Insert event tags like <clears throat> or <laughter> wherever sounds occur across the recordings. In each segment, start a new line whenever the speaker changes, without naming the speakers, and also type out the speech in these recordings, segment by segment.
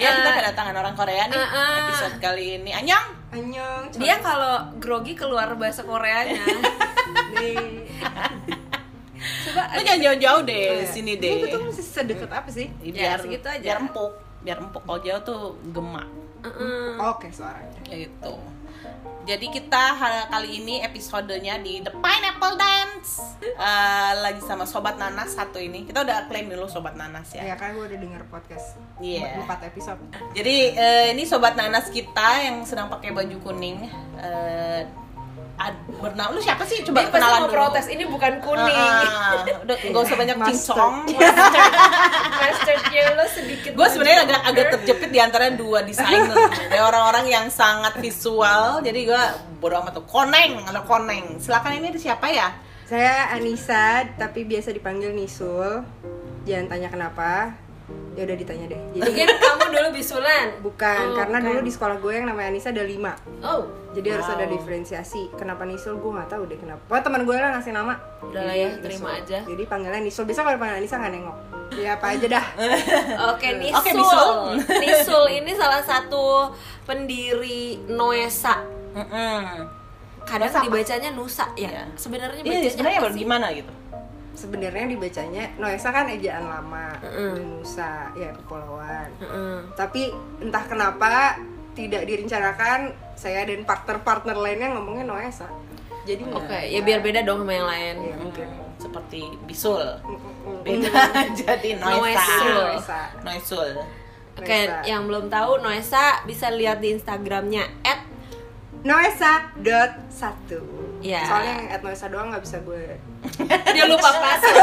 Ya,
Eh,
orang Korea nih
Ah, ah.
episode kali ini. Anyong.
Annyeong,
Dia kalau grogi keluar bahasa
<laughs>
Koreanya.
Ning.
Coba
Lu jangan jauh-jauh deh
Oh,
Iya.
sini
Ini
deh.
betul masih sedekat apa sih?
Ya,
Ya,
biar
segitu aja.
biar empuk biar empuk kalau jauh tuh gemak uh-uh.
Mm-mm.
Oke, suaranya.
gitu jadi kita hari- kali ini episodenya di The Pineapple Dance Eh, lagi sama Sobat Nanas satu ini kita udah klaim dulu Sobat Nanas ya
Iya.
Ya kan gue udah denger podcast
Iya.
empat episode.
jadi eh, ini Sobat Nanas kita yang sedang pakai baju kuning eh, ad- bernama lu siapa sih coba
Dia pasti
kenalan
mau
dulu
protes, ini bukan kuning. <laughs>
Ah, ah, udah gak usah banyak
Mustard.
cincong
Mustard yellow sedikit.
gue sebenarnya agak agak terjepit di antara dua desainer ada orang-orang yang sangat visual jadi gue bodo amat tuh koneng ada koneng silakan ini ada siapa ya
Saya Anissa, tapi biasa dipanggil Nisul. Jangan tanya kenapa. Ya udah ditanya deh. Jadi
Mungkin kamu dulu bisulan.
bukan
Oh,
karena
bukan.
dulu di sekolah gue yang namanya Anissa ada lima.
Oh,
Jadi harus
Wow.
ada diferensiasi. Kenapa Nisul gue nggak tahu deh kenapa. Wah teman gue lah ngasih nama.
Udah lah
Jadi
ya, terima
Nisul.
aja.
Jadi panggilan Nisul. Bisa kalau panggil Anissa nggak nengok. Ya apa aja dah.
<laughs> oke Nisul.
Oke, Nisul.
Nisul ini salah satu pendiri Noesa.
Mm-mm.
Kadang
Noesa apa?
dibacanya Nusa ya.
Iya.
Sebenarnya
ini
bacanya
sebenarnya
apa sih?
gimana gitu
Sebenarnya dibacanya Noesa kan ejaan lama.
Mm-mm.
Nusa ya kepulauan.
Mm-mm.
Iya.
tapi entah kenapa tidak direncanakan saya dan partner-partner lainnya ngomongnya Noesa jadi
Oke,
nggak-
ya biar beda dong sama yang lain.
Iya, mungkin
Hmm, seperti bisul
Mm-mm.
beda <laughs> jadi
Noesul.
noisul
Noesa
noisul
Oke,
Noesa.
yang belum tahu Noesa bisa lihat di Instagramnya at
Noesa dot satu
Iya.
soalnya yang at Noesa doang nggak bisa gue
dia lupa password.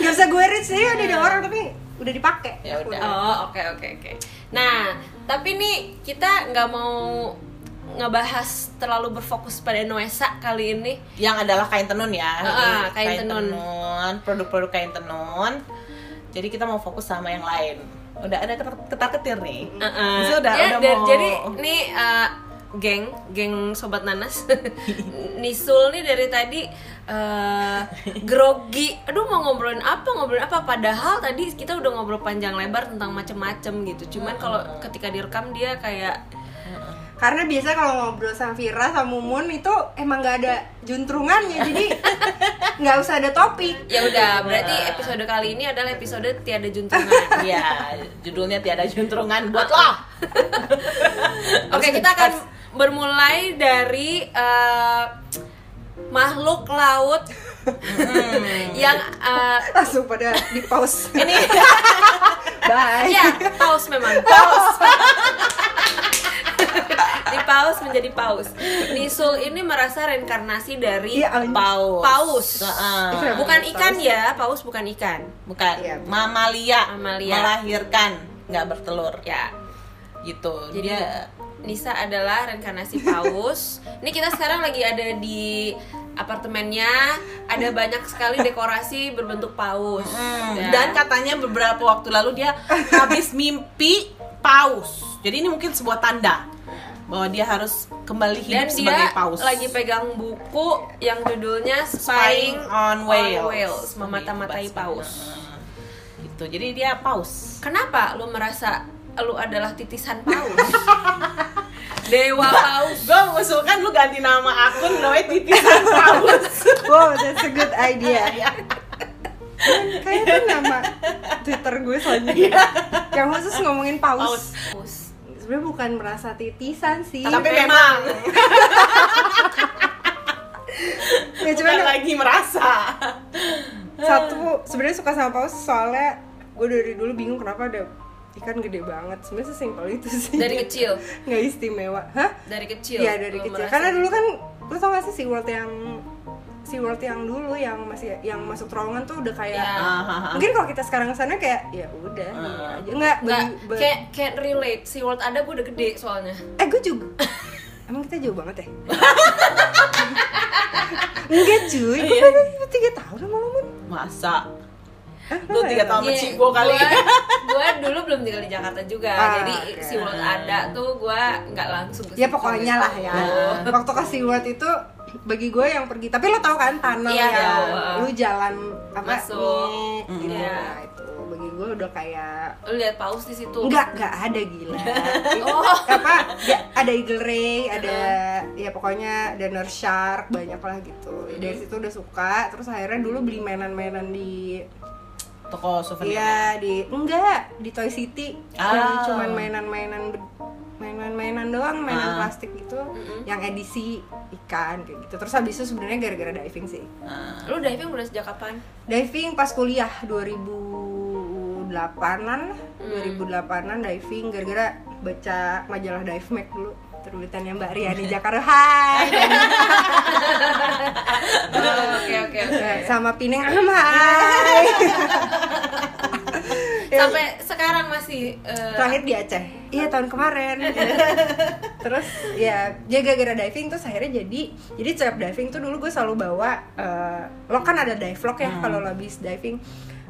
nggak bisa gue reach jadi
Mm.
udah ada orang tapi udah dipakai
Ya udah.
Oh oke oke oke. Nah tapi nih kita nggak mau ngebahas terlalu berfokus pada Noesa kali ini.
yang adalah kain tenun ya
Ah,
Ini
kain tenun.
tenun, produk-produk kain tenun jadi kita mau fokus sama yang lain udah ada ketar ketir nih
Uh-uh.
Bisa udah
Ya,
udah
dan-
mau
Jadi nih eh, geng geng sobat
<laughs>
nanas Nisul nih dari tadi eh, grogi. Aduh mau ngobrolin apa ngobrolin apa? Padahal tadi kita udah ngobrol panjang lebar tentang macem-macem gitu. Cuman kalau ketika direkam dia kayak
karena biasanya kalau ngobrol sama Vira sama Mumun itu emang nggak ada juntrungannya
<laughs>
jadi nggak usah ada topik
ya udah berarti episode kali ini adalah episode tiada juntungan.
Iya, judulnya tiada juntrungan buat
<laughs>
lo.
Oke, kita akan bermulai dari eh, makhluk laut yang eh,
langsung pada di pause
Ini
bye
Iya.
ya paus memang paus. <laughs> Di paus menjadi paus. Nisul ini merasa reinkarnasi dari
Iya, anj-
paus. Ah,
paus. Iya,
Heeh.
Itu
Bukan
Paus.
ikan ya, paus bukan ikan.
Bukan
Iya, benar.
mamalia,
Mamalia.
melahirkan, nggak bertelur
Ya,
gitu.
Jadi eh,
Dia
Nisa adalah reinkarnasi paus.
<laughs>
Ini kita sekarang lagi ada di apartemennya. Ada banyak sekali dekorasi berbentuk paus.
Hmm, dan katanya beberapa waktu lalu dia habis mimpi paus. Jadi ini mungkin sebuah tanda bahwa dia harus kembali
dan
hidup sebagai
dia
paus.
lagi pegang buku yang judulnya Spying
spying on whales,
memata-matai paus.
Gitu. Jadi dia paus.
Kenapa lu merasa lu adalah titisan
<laughs>
paus? Dewa paus.
Gue mengusulkan lu ganti nama akun namanya titisan paus.
Wow, that's a good idea. Kayaknya tuh nama Twitter gue selanjutnya
Iya.
yang khusus ngomongin
Paus.
paus. Sebenarnya bukan merasa titisan sih.
Tapi memang
ya cuman
bukan lagi merasa.
satu sebenarnya suka sama paus soalnya gue dari dulu bingung kenapa ada ikan gede banget. Sebenarnya sesimpel itu sih.
Dari kecil,
nggak istimewa, hah?
dari kecil.
Iya dari
lu
kecil.
merasa gitu.
Karena dulu kan lu tau gak sih si world yang si world yang dulu yang masih yang masuk terowongan tuh udah kayak
Ya.
mungkin kalau kita sekarang kesana kayak ya udah iya aja nggak
Nggak,
bagi- ba-
can't, can't relate. Si World ada gue udah gede soalnya.
eh gue juga
<laughs>
emang kita jauh banget ya enggak cuy gue
Iya.
kan tiga tahun sama lo Mun.
Masa
Eh,
lu
lo
tiga
ya?
tahun sama
Iya,
Cibo kali.
gua- Gua dulu belum tinggal di Jakarta juga.
Ah,
jadi
oke.
si World ada tuh gua nggak langsung ke
ya
situ
pokoknya
gitu.
lah ya waktu ke SeaWorld itu bagi gue yang pergi tapi lo tau kan tanah
Iya,
yang
tahu.
lu jalan apa
Masuk.
nih, gitu.
Iya.
Nah, itu bagi gue udah kayak
Lu lihat paus di situ.
Enggak, enggak ada gila.
Oh.
Apa? ya, ada Eagle Ray, ada ya pokoknya ada Nurse Shark, banyak lah gitu. Dari situ udah suka, terus akhirnya dulu beli mainan-mainan di
Toko souvenir.
Iya di enggak di Toy City yang
Ah.
cuman mainan-mainan be- mainan-mainan doang mainan
Ah.
plastik gitu yang edisi ikan kayak gitu terus habis itu sebenarnya gara-gara diving sih
Nah,
Lu diving udah sejak kapan?
diving pas kuliah 2008an 2008an diving gara-gara baca majalah Dive Mag dulu terbitannya Mbak Riani Jakarta Hai Ah,
Oke oke oke.
sama Pineng Hai
Sampai sekarang masih eh,
terakhir di Aceh iya tahun kemarin terus ya dia gara-gara diving terus akhirnya jadi jadi setiap diving tuh dulu gue selalu bawa eh, lo kan ada dive log ya kalau lo habis diving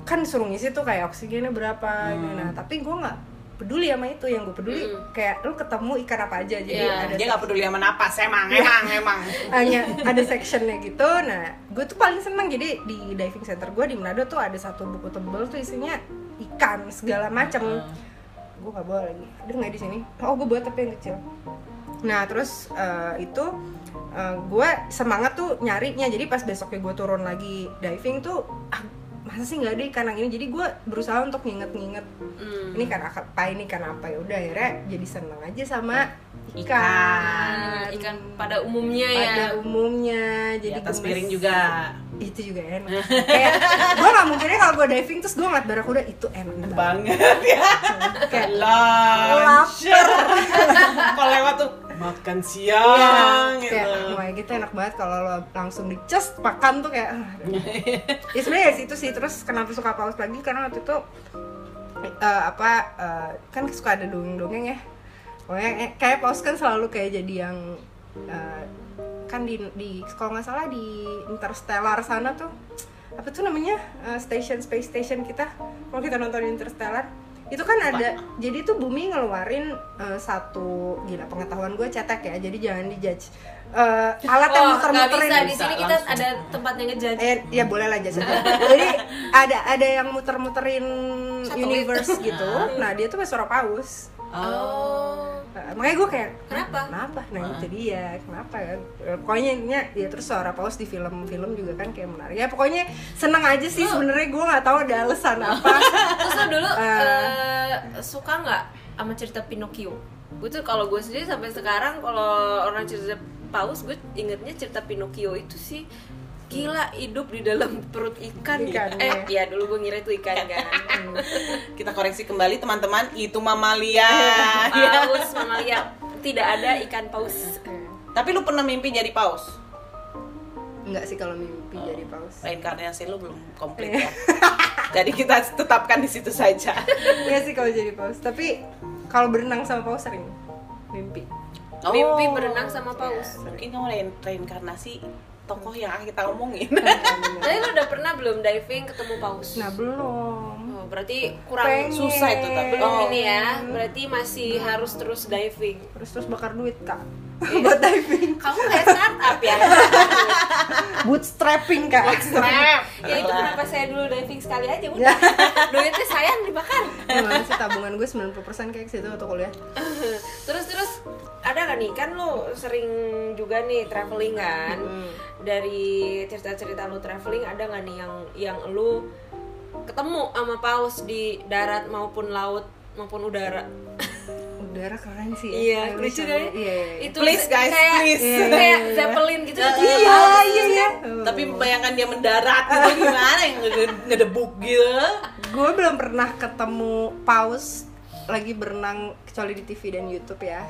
kan suruh ngisi tuh kayak oksigennya berapa gitu. nah tapi gue nggak peduli sama itu yang gue peduli kayak lo ketemu ikan apa aja jadi
Iya,
ada
dia nggak peduli sama napas, emang, emang, emang.
hanya ada sectionnya gitu nah gue tuh paling seneng jadi di diving center gue di Manado tuh ada satu buku tebel tuh isinya ikan segala macem
Hmm.
gue gak bawa lagi ada nggak di sini oh gue bawa tapi yang kecil nah terus eh, itu eh, gue semangat tuh nyarinya jadi pas besoknya gue turun lagi diving tuh ah, masa sih nggak ada ikan yang ini jadi gue berusaha untuk nginget-nginget
hmm.
ini kan apa ini kan apa ya udah akhirnya jadi seneng aja sama ikan,
ikan, eh, ikan pada umumnya ya.
pada umumnya
Di
jadi
atas
gemes.
piring juga.
itu juga enak kayak gue nggak mungkinnya kalau gue diving terus gue ngeliat barakuda itu enak banget
<laughs> Banget ya.
kayak
Lunch. <laughs> Kalau lewat tuh makan siang
kayak
gitu.
wah gitu enak banget kalau lo langsung dicas makan tuh kayak ah. ya sebenarnya dari situ sih terus kenapa suka paus lagi karena waktu itu eh, apa eh, kan suka ada dongeng-dongeng ya pokoknya eh, kayak paus kan selalu kayak jadi yang eh, kan di di kalau nggak salah di interstellar sana tuh apa tuh namanya eh, station space station kita kalau kita nonton interstellar itu kan ada jadi tuh bumi ngeluarin eh, satu gila pengetahuan gue cetek ya jadi jangan dijudge Eh, alat
Wah, Oh,
yang
nggak
muter-muterin
bisa di sini
Bisa,
kita
langsung.
ada tempatnya ngejudge.
Eh,
Hmm.
ya boleh lah
<laughs>
jasa. Jadi ada ada yang muter-muterin
Satelit.
<laughs>
universe gitu.
Ah.
Nah dia tuh suara paus.
Oh.
Nah, makanya gue kayak
Kenapa?
Kenapa? Nah
Ah.
itu dia kenapa ya? Eh, Pokoknya intinya ya terus suara paus di film-film juga kan kayak menarik. Ya pokoknya seneng aja sih
Oh.
sebenarnya gue nggak tahu ada alasan apa.
<laughs>
Terus lo dulu
Eh.
eh, suka nggak sama cerita Pinocchio? Gue tuh kalau gue sendiri sampai sekarang kalau orang cerita paus gue ingetnya cerita Pinocchio itu sih gila hidup di dalam perut ikan.
Ikan,
eh ya dulu gue ngira itu ikan
<laughs>
kan.
Kita koreksi kembali teman-teman, itu mamalia. <laughs> Iya.
paus mamalia tidak ada ikan paus.
Tapi lu pernah mimpi jadi paus?
Enggak sih kalau mimpi
Oh.
jadi paus.
Reinkarnasi lu belum komplit ya. <laughs> Jadi kita tetapkan di situ saja.
<laughs> Iya sih kalau jadi paus. Tapi kalau berenang sama paus sering mimpi.
Mimpi
Oh.
berenang sama paus.
Mungkin kamu rein- reinkarnasi tokoh yang akan kita omongin.
Tapi lo udah pernah belum diving ketemu paus?
Nah belum.
Oh, berarti kurang
Pengen. Oh.
Susah itu tapi. Oh,
belum ini ya. Berarti masih harus terus diving.
terus terus bakar duit kak <laughs> buat diving
Kamu kayak startup ya.
bootstrapping kak
ya itu kenapa saya dulu diving sekali aja
Ya.
udah. Duitnya saya yang dibakar.
Gimana sih tabungan gue 90% kayak situ waktu kuliah
Terus terus ada nggak nih kan lo sering juga nih traveling kan. Dari cerita-cerita lo traveling ada nggak nih yang yang lo ketemu sama paus di darat maupun laut maupun udara.
udara keren sih ya.
Iya, <laughs>
Kayak
lucu
misalnya-
deh.
iya iya, iya.
Itu
Please, guys,
kayak,
please.
kayak Zeppelin gitu. kan?
iya iya iya
Tapi bayangkan dia mendarat itu gimana yang ngede- ngedebuk gitu. <laughs>
gue belum pernah ketemu paus lagi berenang kecuali di TV dan YouTube ya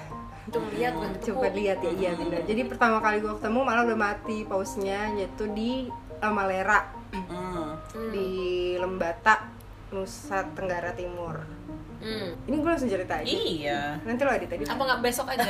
Tuh lihat kan ketemu.
coba lihat ya iya benar jadi pertama kali gue ketemu malah udah mati pausnya yaitu di eh, Malera
Hmm.
di Lembata Nusa Tenggara Timur
Hmm.
ini gue langsung cerita aja
Iya.
nanti lo edit tadi
Apa nggak besok aja?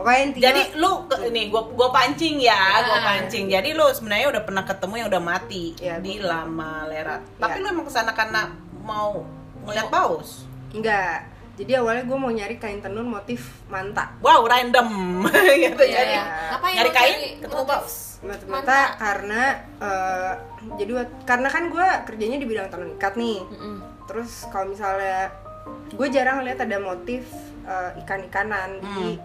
pokoknya intinya
Jadi lu ke- nih gua gua pancing ya, gua pancing. Jadi lu sebenarnya udah pernah ketemu yang udah mati
Ah. Iya,
di Lama Lerat.
Iya.
Tapi lu emang kesana karena mau melihat paus.
Enggak. Jadi awalnya gue mau nyari kain tenun motif manta.
Wow, random. <laughs> gitu
Iya,
jadi.
iya. Ngapain
Nyari
lo
kain,
cari
ketemu
motif?
paus.
mata-mata karena eh, jadi wak- karena kan gue kerjanya di bidang tenun ikat nih
Mm-mm.
terus kalau misalnya gue jarang lihat ada motif eh, ikan-ikanan di
Hmm.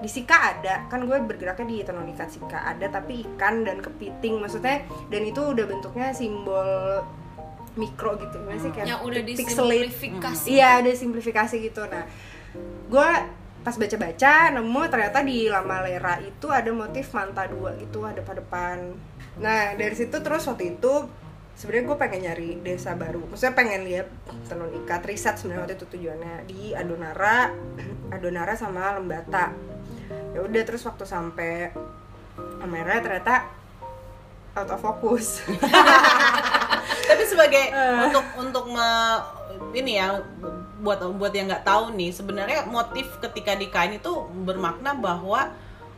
di sika ada kan gue bergeraknya di tenun ikat sika ada tapi ikan dan kepiting maksudnya dan itu udah bentuknya simbol mikro gitu gimana sih kayak
yang udah
pixelate
disimplifikasi
Iya, udah simplifikasi gitu. Nah, gue pas baca-baca nemu ternyata di Lama Lera itu ada motif manta dua gitu ada pada depan. Nah, dari situ terus waktu itu sebenarnya gue pengen nyari desa baru. Maksudnya pengen lihat tenun ikat riset sebenarnya waktu itu tujuannya di Adonara, <clears throat> Adonara sama Lembata. Ya udah terus waktu sampai Amera ternyata out of focus. <laughs>
tapi sebagai
Ah.
untuk untuk me- ini ya buat buat yang nggak tahu nih sebenarnya motif ketika di kain itu bermakna bahwa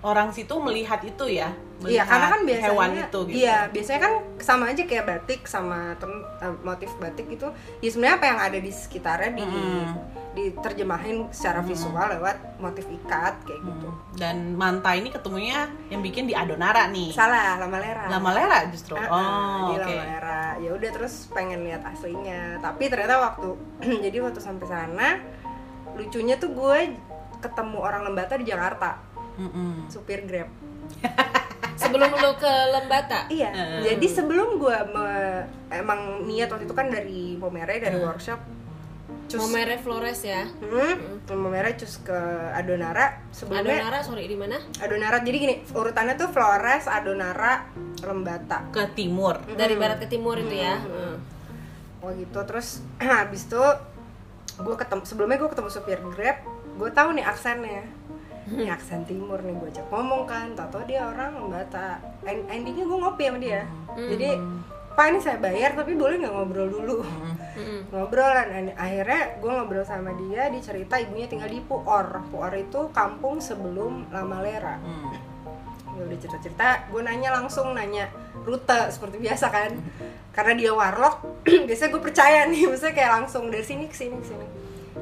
orang situ melihat itu ya
Iya,
melihat
karena kan biasanya
hewan itu gitu
Iya, biasanya kan sama aja kayak batik sama ten- eh, motif batik itu ya sebenarnya apa yang ada di sekitarnya di
Mm.
diterjemahin secara visual lewat motif ikat kayak gitu.
Hmm. dan manta ini ketemunya yang bikin di adonara nih
Salah, lama lera.
Mm. lama lera justru
Ah, ah,
oh
di
oke
lama lera. Ya udah terus pengen lihat aslinya, tapi ternyata waktu <clears throat> jadi waktu sampai sana lucunya tuh gue ketemu orang Lembata di Jakarta,
Mm-mm.
supir Grab.
sebelum lu ke Lembata
Iya. Jadi sebelum gua me- emang niat waktu itu kan dari Pomere dari workshop cus
Momere Flores ya
Hmm, Pomere cus ke Adonara sebelumnya
Adonara sorry di mana
Adonara. Jadi gini, urutannya tuh Flores, Adonara, Lembata.
ke timur
dari barat ke timur itu ya Heeh.
Oh gitu. Terus <clears throat> habis itu gua ketemu sebelumnya gua ketemu supir Grab, gua tahu nih aksennya. Ini aksen timur nih gue ajak ngomong kan, tau dia orang Lembata. End- endingnya gue ngopi sama dia. Jadi, Pak ini saya bayar tapi boleh nggak ngobrol dulu?
Mm-mm.
<laughs> ngobrolan An- akhirnya gue ngobrol sama dia dia cerita ibunya tinggal di Puor Puor itu kampung sebelum Lama Lera
Hmm.
ya udah cerita cerita gue nanya langsung nanya rute seperti biasa kan karena dia warlock <clears throat> biasanya gue percaya nih <laughs> maksudnya kayak langsung dari sini ke sini ke sini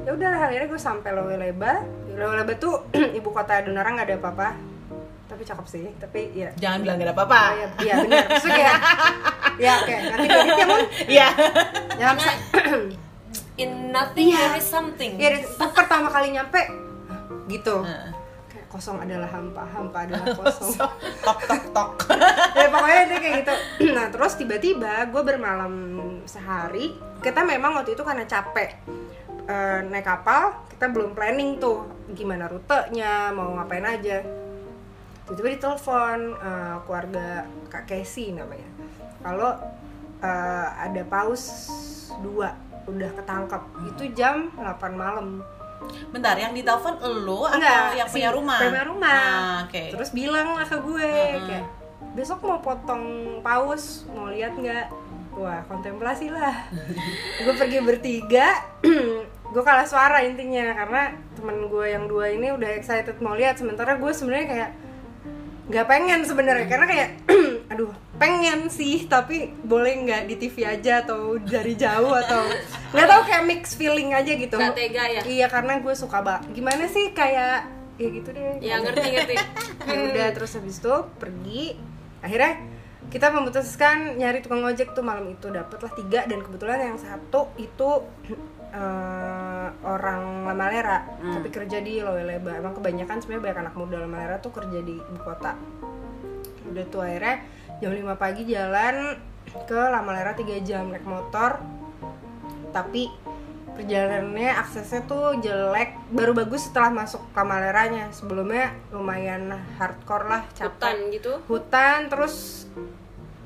ya udahlah akhirnya gue sampai Leweleba Leweleba tuh <clears throat> ibu kota Donara nggak ada apa-apa tapi cakep sih tapi ya
jangan bilang gak ada apa-apa
ya, ya benar maksudnya kayak ya kayak nanti dia ya mun <laughs>
iya
ya
in nothing
Iya.
there is something
Iya, dari pas pertama kali nyampe "Hah?" gitu.
Nah.
Kayak kosong adalah hampa, hampa adalah kosong.
tok tok tok
ya pokoknya dia kayak gitu. Nah, terus tiba-tiba gue bermalam sehari. Kita memang waktu itu karena capek eh, naik kapal, kita belum planning tuh gimana rutenya, mau ngapain aja. Tiba-tiba ditelepon eh, keluarga Kak Casey namanya. Kalau eh, ada paus dua udah ketangkep. Itu jam 8 malam.
bentar yang ditelepon elo atau
Enggak,
yang
si
punya rumah
punya rumah.
Ah, oke
terus bilang lah ke gue kayak besok mau potong paus mau lihat nggak wah kontemplasi
<laughs>
lah gue pergi bertiga <clears throat> gue kalah suara intinya karena temen gue yang dua ini udah excited mau lihat sementara gue sebenarnya kayak nggak pengen sebenarnya karena kayak <clears throat> aduh pengen sih tapi boleh nggak di TV aja atau dari jauh
<laughs>
atau nggak tahu kayak mix feeling aja gitu
Nggak tega ya?
iya karena gue suka banget gimana sih kayak ya gitu deh
ya ngerti <laughs> ngerti
Ya udah terus habis itu pergi akhirnya kita memutuskan nyari tukang ojek tuh malam itu dapatlah tiga dan kebetulan yang satu itu eh, orang Lamalera tapi kerja di Loeleba emang kebanyakan sebenarnya banyak anak muda Lamalera tuh kerja di ibu kota udah tuh akhirnya jam 5 pagi jalan ke Lamalera 3 jam naik motor tapi perjalanannya aksesnya tuh jelek baru bagus setelah masuk Lamaleranya sebelumnya lumayan hardcore lah
hutan
capek
gitu
hutan terus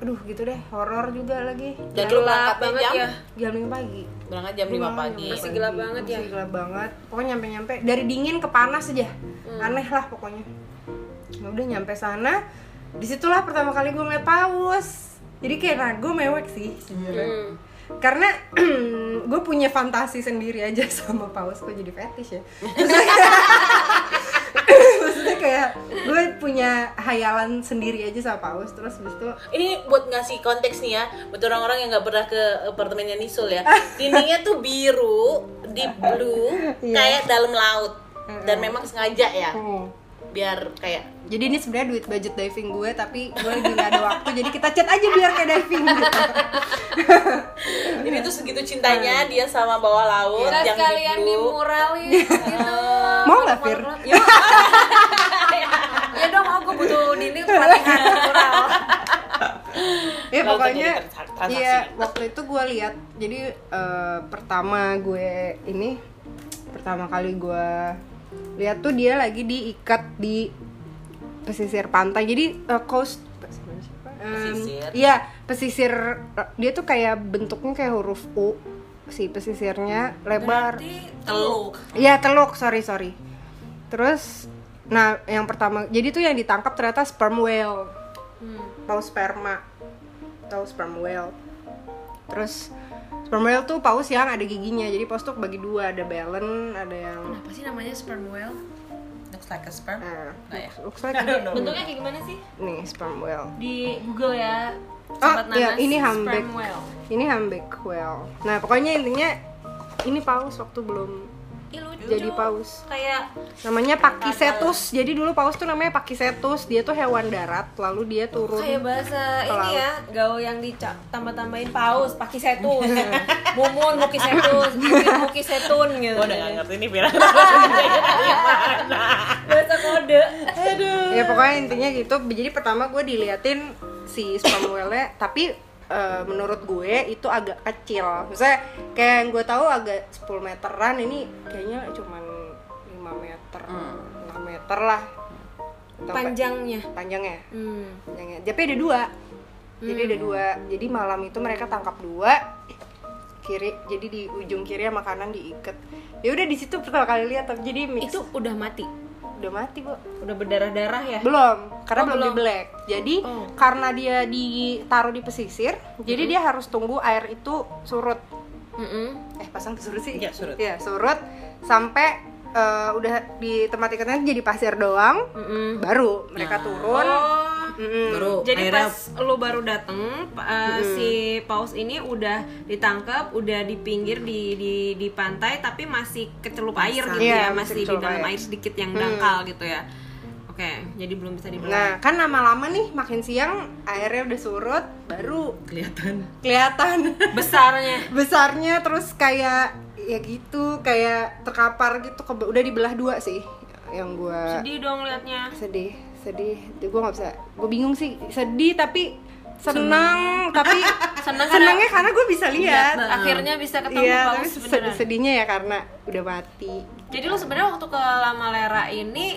aduh gitu deh horor juga lagi
Dan
Jam-
lu
gelap
berangkatnya
banget
jam?
ya
jam 5 pagi
berangkat jam 5 pagi
Masih gelap banget ya?
Iya, Masih gelap banget. Pokoknya nyampe-nyampe Hmm. dari dingin ke panas aja. Aneh lah pokoknya. Nah, udah nyampe sana, disitulah pertama kali gue ngeliat paus. Jadi kayak ragu mewek sih sebenarnya.
Hmm.
Karena <clears throat> gue punya fantasi sendiri aja <laughs> sama paus gue jadi fetish ya. Maksudnya kayak gue punya hayalan sendiri aja sama paus terus habis itu
ini buat ngasih konteks nih ya buat orang-orang yang nggak pernah ke apartemennya Nisul ya
Ah.
dindingnya tuh
Iya.
biru deep blue kayak dalam laut dan memang sengaja ya
oh,
biar kayak
Jadi ini sebenarnya duit budget diving gue tapi gue lagi nggak ada waktu jadi kita chat aja biar kayak diving
<laughs>
gitu.
Jadi itu segitu cintanya
Mm.
dia sama bawah laut
kita
Oh, yang
sekalian
biru.
dimuralis <laughs> gitu
Mau nggak, Fir?
Ya, ya dong aku butuh dini pelatihan mural
ya
Lalu
pokoknya
terjadi trans- transaksi.
iya waktu itu gue lihat jadi eh, pertama gue ini pertama kali gue lihat tuh dia lagi diikat di pesisir pantai jadi eh, coast em,
Pesisir.
iya pesisir eh, dia tuh kayak bentuknya kayak huruf U si pesisirnya lebar
Berarti
teluk.
Iya teluk, sorry sorry. Terus, nah yang pertama, jadi tuh yang ditangkap ternyata sperm whale, paus sperma, atau sperm whale. Terus sperm whale tuh paus yang ada giginya, jadi paus tuh bagi dua, ada balen, ada yang
Kenapa sih namanya sperm whale?
Looks like a sperm.
eh,
Nah, ya.
looks like
Bentuknya kayak gimana sih?
nih sperm whale.
Di Google ya.
Oh,
Sobat
iya,
Nanas,
ini
sperm
humpback.
whale.
Ini humpback whale. Nah pokoknya intinya ini paus waktu belum
Ih, lucu.
Jadi paus.
Kayak
namanya pakisetus jadi dulu paus tuh namanya pakisetus dia tuh hewan darat lalu dia turun
kayak bahasa
Ke
ini
laut.
ya, gaul yang dicak tambah-tambahin paus, paki setus, mumun, muki setus, muki setun gitu.
Gue udah gak ngerti nih Fira
Bahasa kode.
ya pokoknya intinya gitu jadi pertama gue diliatin si sperm whale-nya tapi eh, menurut gue itu agak kecil misalnya kayak yang gue tahu agak 10 meteran ini kayaknya cuman 5 meter 6 meter lah Atau
Panjangnya.
kayak- panjangnya
Hmm.
panjangnya tapi ada dua jadi ada dua jadi malam itu mereka tangkap dua kiri jadi di ujung kiri sama kanan diikat ya udah di situ pertama kali lihat tapi jadi mix
Itu udah mati,
udah mati bu
udah berdarah-darah ya.
belum karena
Oh,
belum,
belum.
di black jadi
Oh. Mm-hmm.
karena dia ditaruh di pesisir jadi dia harus tunggu air itu surut
Mm-mm.
eh pasang surut sih
Iya, surut.
Iya, surut sampai eh, udah di tempat ikatnya jadi pasir doang
Mm-mm.
baru mereka turun
Mm-hmm. Nah. Oh.
Mm-mm.
Baru
Jadi
akhirnya
pas lo baru dateng pa- uh, si paus ini udah ditangkap, udah di pinggir di di di pantai tapi masih kecelup air gitu ya,
Iya, masih
masih di
kecelup
dalam
air.
air sedikit yang dangkal gitu ya. Oke, jadi belum bisa dibelah.
Nah, kan lama-lama nih makin siang airnya udah surut, baru
kelihatan
kelihatan <laughs>
Besarnya
besarnya terus kayak ya gitu, kayak terkapar gitu. Kebe- Udah dibelah dua sih yang gua
sedih dong liatnya.
sedih, sedih. Jadi gua nggak bisa. Gua bingung sih, sedih tapi senang, <laughs>
<laughs>
tapi
Senang karena-
senangnya karena gue bisa lihat.
nah. Akhirnya bisa ketemu
Iya, tapi
paus
sed-
beneran.
sedihnya ya karena udah mati.
Jadi lo sebenarnya waktu ke Lamalera ini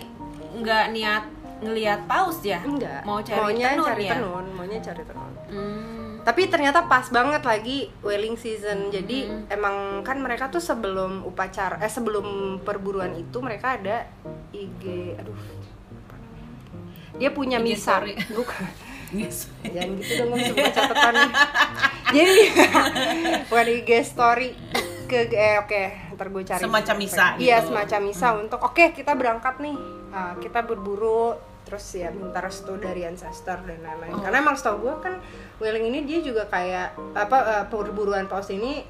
nggak niat ngelihat paus ya?
Enggak.
Mau cari
maunya
tenun
cari
ya?
tenun, maunya cari tenun.
Hmm.
tapi ternyata pas banget lagi whaling season jadi
Hmm.
emang kan mereka tuh sebelum upacara eh sebelum perburuan itu mereka ada IG aduh dia punya
IG
misa
story.
bukan
<laughs>
Yes.
jangan gitu dong langsung buka catatan jadi bukan IG story ke eh, oke ntar gue cari
Semacam misa
iya
gitu.
semacam misa untuk oke kita berangkat nih Ah, kita berburu terus ya minta restu dari ancestor dan lain-lain
Oh.
karena emang setahu gue kan whaling ini dia juga kayak apa eh, perburuan paus ini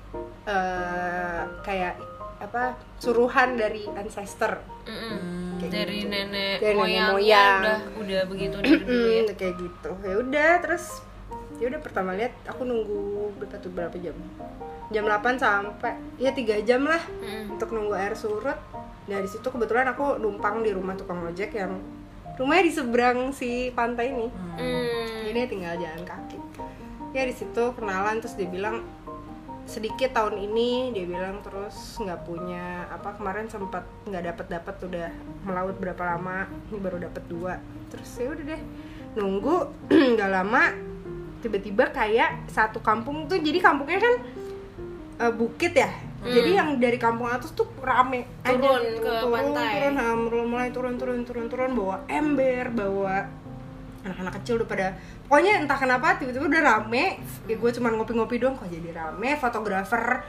eh, kayak apa suruhan dari ancestor
Mm-mm.
Kayak
Dari
gitu.
nenek
Dari nenek
moyangnya
moyang.
udah udah begitu dari dulu ya.
Hmm, kayak gitu. Ya udah, terus ya udah pertama lihat aku nunggu berapa tuh berapa jam? Jam 8 sampai ya 3 jam lah
Mm-mm.
untuk nunggu air surut. Dari situ kebetulan aku numpang di rumah tukang ojek yang rumahnya di seberang si pantai ini.
Hmm.
Jadi tinggal jalan kaki. Ya di situ kenalan terus dia bilang sedikit tahun ini dia bilang terus nggak punya apa kemarin sempat nggak dapat dapat udah melaut berapa lama ini baru dapat dua terus ya udah deh nunggu <clears throat> nggak lama tiba-tiba kayak satu kampung tuh jadi kampungnya kan eh, bukit ya jadi yang dari kampung atas tuh rame
Hmm.
aja.
Turun ke pantai.
turun ha, mulai mulai turun turun turun turun bawa ember bawa anak-anak kecil udah pada pokoknya entah kenapa tiba-tiba udah rame ya gue cuman ngopi-ngopi doang kok jadi rame fotografer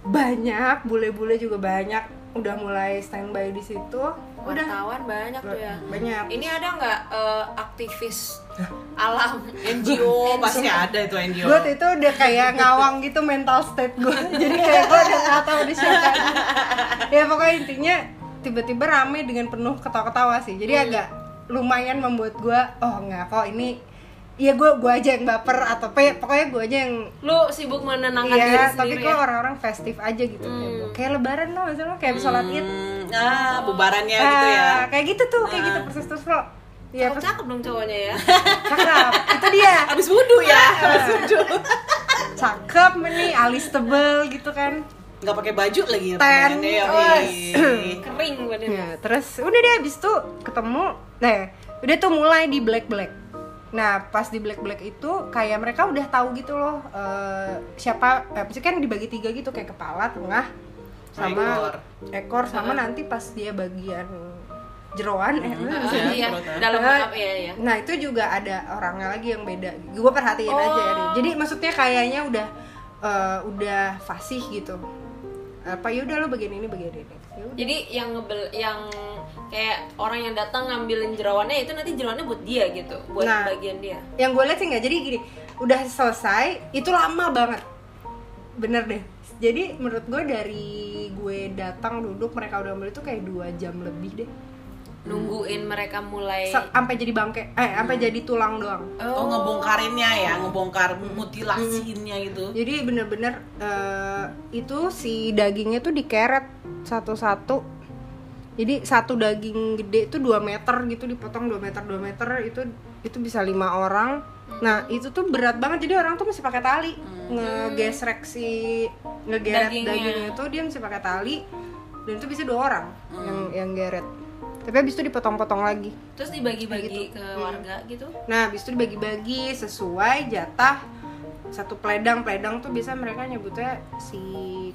banyak bule-bule juga banyak udah mulai standby di situ udah
Wartawan banyak tuh ya.
banyak
Ini ada nggak eh, aktivis alam?
NGO pasti ada itu NGO.
gue tuh itu udah kayak ngawang gitu
<laughs>
mental state gue jadi kayak gue udah nggak tahu di siapa ya pokoknya intinya tiba-tiba rame dengan penuh ketawa-ketawa sih
Iya.
jadi agak lumayan membuat gua oh nggak kok ini Iya gue gua aja yang baper atau pe, pokoknya gue aja yang
Lu sibuk menenangkan diri
Iya, tapi
sendiri
kok
ya? Hmm.
orang-orang festif aja gitu kayak gua. kayak lebaran tau gak sih lo? kayak sholat id
Hmm, ah, bubarannya
Iya,
gitu ya.
Ah, kayak gitu tuh kayak gitu persis terus lo Iya,
Cakep,
persis
cakep dong cowoknya
<laughs>
ya
cakep itu
<laughs>
dia
Abis wudhu ya, abis wudhu.
cakep nih alis tebel gitu kan
Nggak pakai baju lagi ya.
Ten.
pengennya, ya, wih.
Kering badannya
Nah, terus udah deh abis tuh ketemu nah udah tuh mulai di black black nah pas di black black itu kayak mereka udah tahu gitu loh eh, siapa eh, maksudnya kan dibagi tiga gitu kayak kepala tengah sama ekor, sama nanti pas dia bagian jeroan eh,
Ah,
maksudnya-
Iya,
perut, ya.
dalam
Eh,
makeup ya ya
Nah itu juga ada orangnya lagi yang beda. Gue perhatiin aja ya. Ri. Jadi maksudnya kayaknya udah eh, udah fasih gitu. Apa ya udah lo bagian ini bagian ini. Ya Yaudah.
Jadi yang ngebel yang kayak orang yang datang ngambilin jerawannya itu nanti jerawannya buat dia gitu, buat
Nah.
bagian dia.
Yang gue lihat sih nggak. Jadi gini, udah selesai. Itu lama banget. Bener deh. Jadi menurut gue dari gue datang duduk mereka udah ambil itu kayak dua jam lebih deh.
Nungguin mereka mulai
Sa- Sampai jadi bangke, eh sampai jadi tulang doang.
Oh, ngebongkarinnya ya, ngebongkar mutilasiinnya gitu.
Jadi bener-bener eh, itu si dagingnya tuh dikeret satu-satu. Jadi satu daging gede itu 2 meter gitu dipotong 2 meter 2 meter itu itu bisa lima orang. Nah, itu tuh berat banget. Jadi orang tuh mesti pakai tali ngegesrek si ngegeret
Dagingnya.
dagingnya. itu dia mesti pakai tali dan itu bisa dua orang yang yang geret. Tapi habis itu dipotong-potong lagi.
terus dibagi-bagi ke warga gitu.
Nah, habis itu dibagi-bagi sesuai jatah satu peledang. Peledang tuh bisa mereka nyebutnya si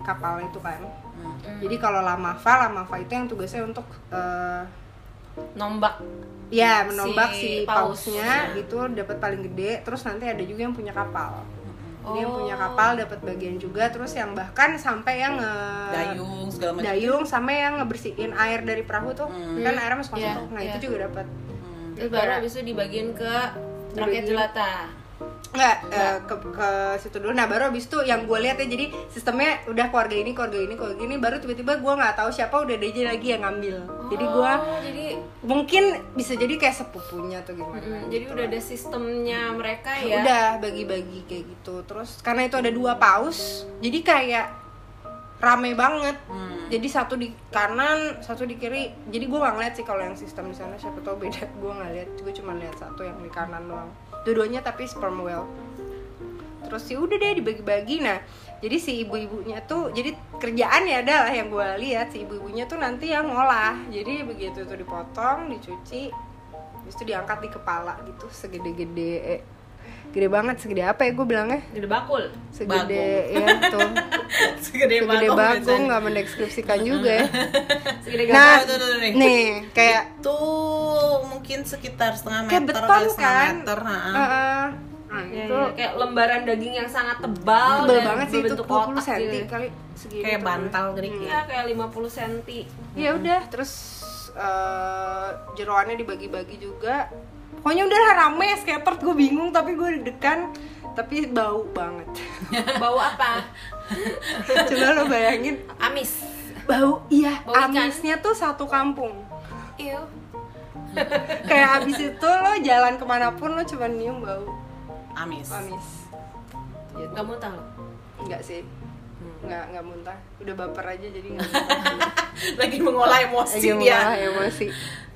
kapal itu kan.
Hmm,
Hmm.
Jadi kalau Lamafa, Lamafa itu yang tugasnya untuk eh,
Nombak.
ya menombak
Si
si,
paus. Iya.
pausnya itu dapat paling gede. Terus nanti ada juga yang punya kapal. Ini yang punya
Oh.
kapal dapat bagian juga. Terus yang bahkan sampai yang nge-
Dayung segala macam.
dayung sama yang ngebersihin air dari perahu tuh kan airnya masuk masuk
Iya,
nah
iya.
itu juga dapat
Terus baru habis itu dibagiin ke rakyat jelata.
Nggak, eh, ke, ke situ dulu. Nah baru abis itu yang gue lihat ya jadi sistemnya udah keluarga ini keluarga ini keluarga ini baru tiba-tiba gue nggak tahu siapa udah DJ lagi yang ngambil. Jadi gue
Oh, jadi
mungkin bisa jadi kayak sepupunya atau gimana.
mm, jadi udah ada sistemnya mereka ya.
Udah bagi-bagi kayak gitu. Terus karena itu ada dua paus, jadi kayak rame banget. Jadi satu di kanan, satu di kiri. Jadi gue nggak ngeliat sih kalau yang sistem di sana siapa tau beda. Gue nggak lihat, gue cuma lihat satu yang di kanan doang. Dua-duanya tapi sperm whale. Terus sih udah deh dibagi-bagi. Nah, jadi si ibu-ibunya tuh, jadi kerjaannya adalah yang gue lihat si ibu-ibunya tuh nanti yang ngolah. Jadi begitu itu dipotong, dicuci, habis itu diangkat di kepala gitu, segede-gede, eh, gede banget, segede apa ya gue bilangnya?
Gede
<laughs>
bakul.
Segede ya
<laughs>
tuh,
Segede
segede
bagong
bagong
biasanya.
nggak
<laughs>
mendeskripsikan juga ya.
Segede
Nah,
Tuh, tuh, tuh, nih.
nih kayak
Tuh, mungkin sekitar setengah meter
kayak beton
kali setengah
kan?
meter, ah. ha-ha.
Heeh. Nah,
Ya,
itu
ya, kayak lembaran daging yang sangat tebal,
tebal
dan
banget sih itu
berbentuk
20
kotak
cm
gitu.
kali segini.
Kayak
tuh.
bantal Greek ya.
Iya, kayak 50
<laughs>
cm.
ya udah terus eh, jeroannya dibagi-bagi juga pokoknya udah lah, rame skater gue bingung tapi gue deg-degan tapi bau banget <laughs>
Bau apa?
coba lo bayangin
Amis.
bau iya
Bau ikan.
amisnya tuh satu kampung
Iya.
kayak abis itu lo jalan kemanapun lo cuma nyium bau
Amis. <laughs>
amis Gitu.
Gak mau tahu.
enggak sih nggak nggak muntah udah baper aja jadi <laughs> nggak muntah.
Lagi mengolah emosi
lagi
dia.
mengolah emosi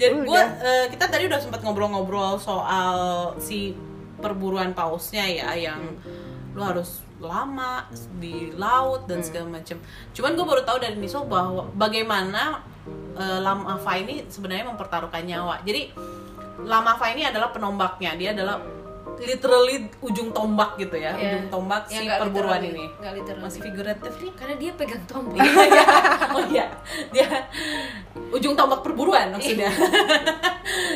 Jadi
ya.
Udah. iya,
gua eh, kita tadi udah sempat ngobrol-ngobrol soal si perburuan pausnya ya yang
Hmm.
lu harus lama di laut dan segala macam. Cuman gue baru tahu dari Niso bahwa bagaimana eh, Lamafa ini sebenarnya mempertaruhkan nyawa. Jadi Lamafa ini adalah penombaknya. Dia adalah literally ujung tombak gitu ya,
Iya.
ujung tombak
Ya,
si
nggak
perburuan
literally,
ini.
nggak literally.
Masih figuratif nih.
Karena dia pegang tombol.
oh iya, dia ujung tombak perburuan
Iya.
maksudnya.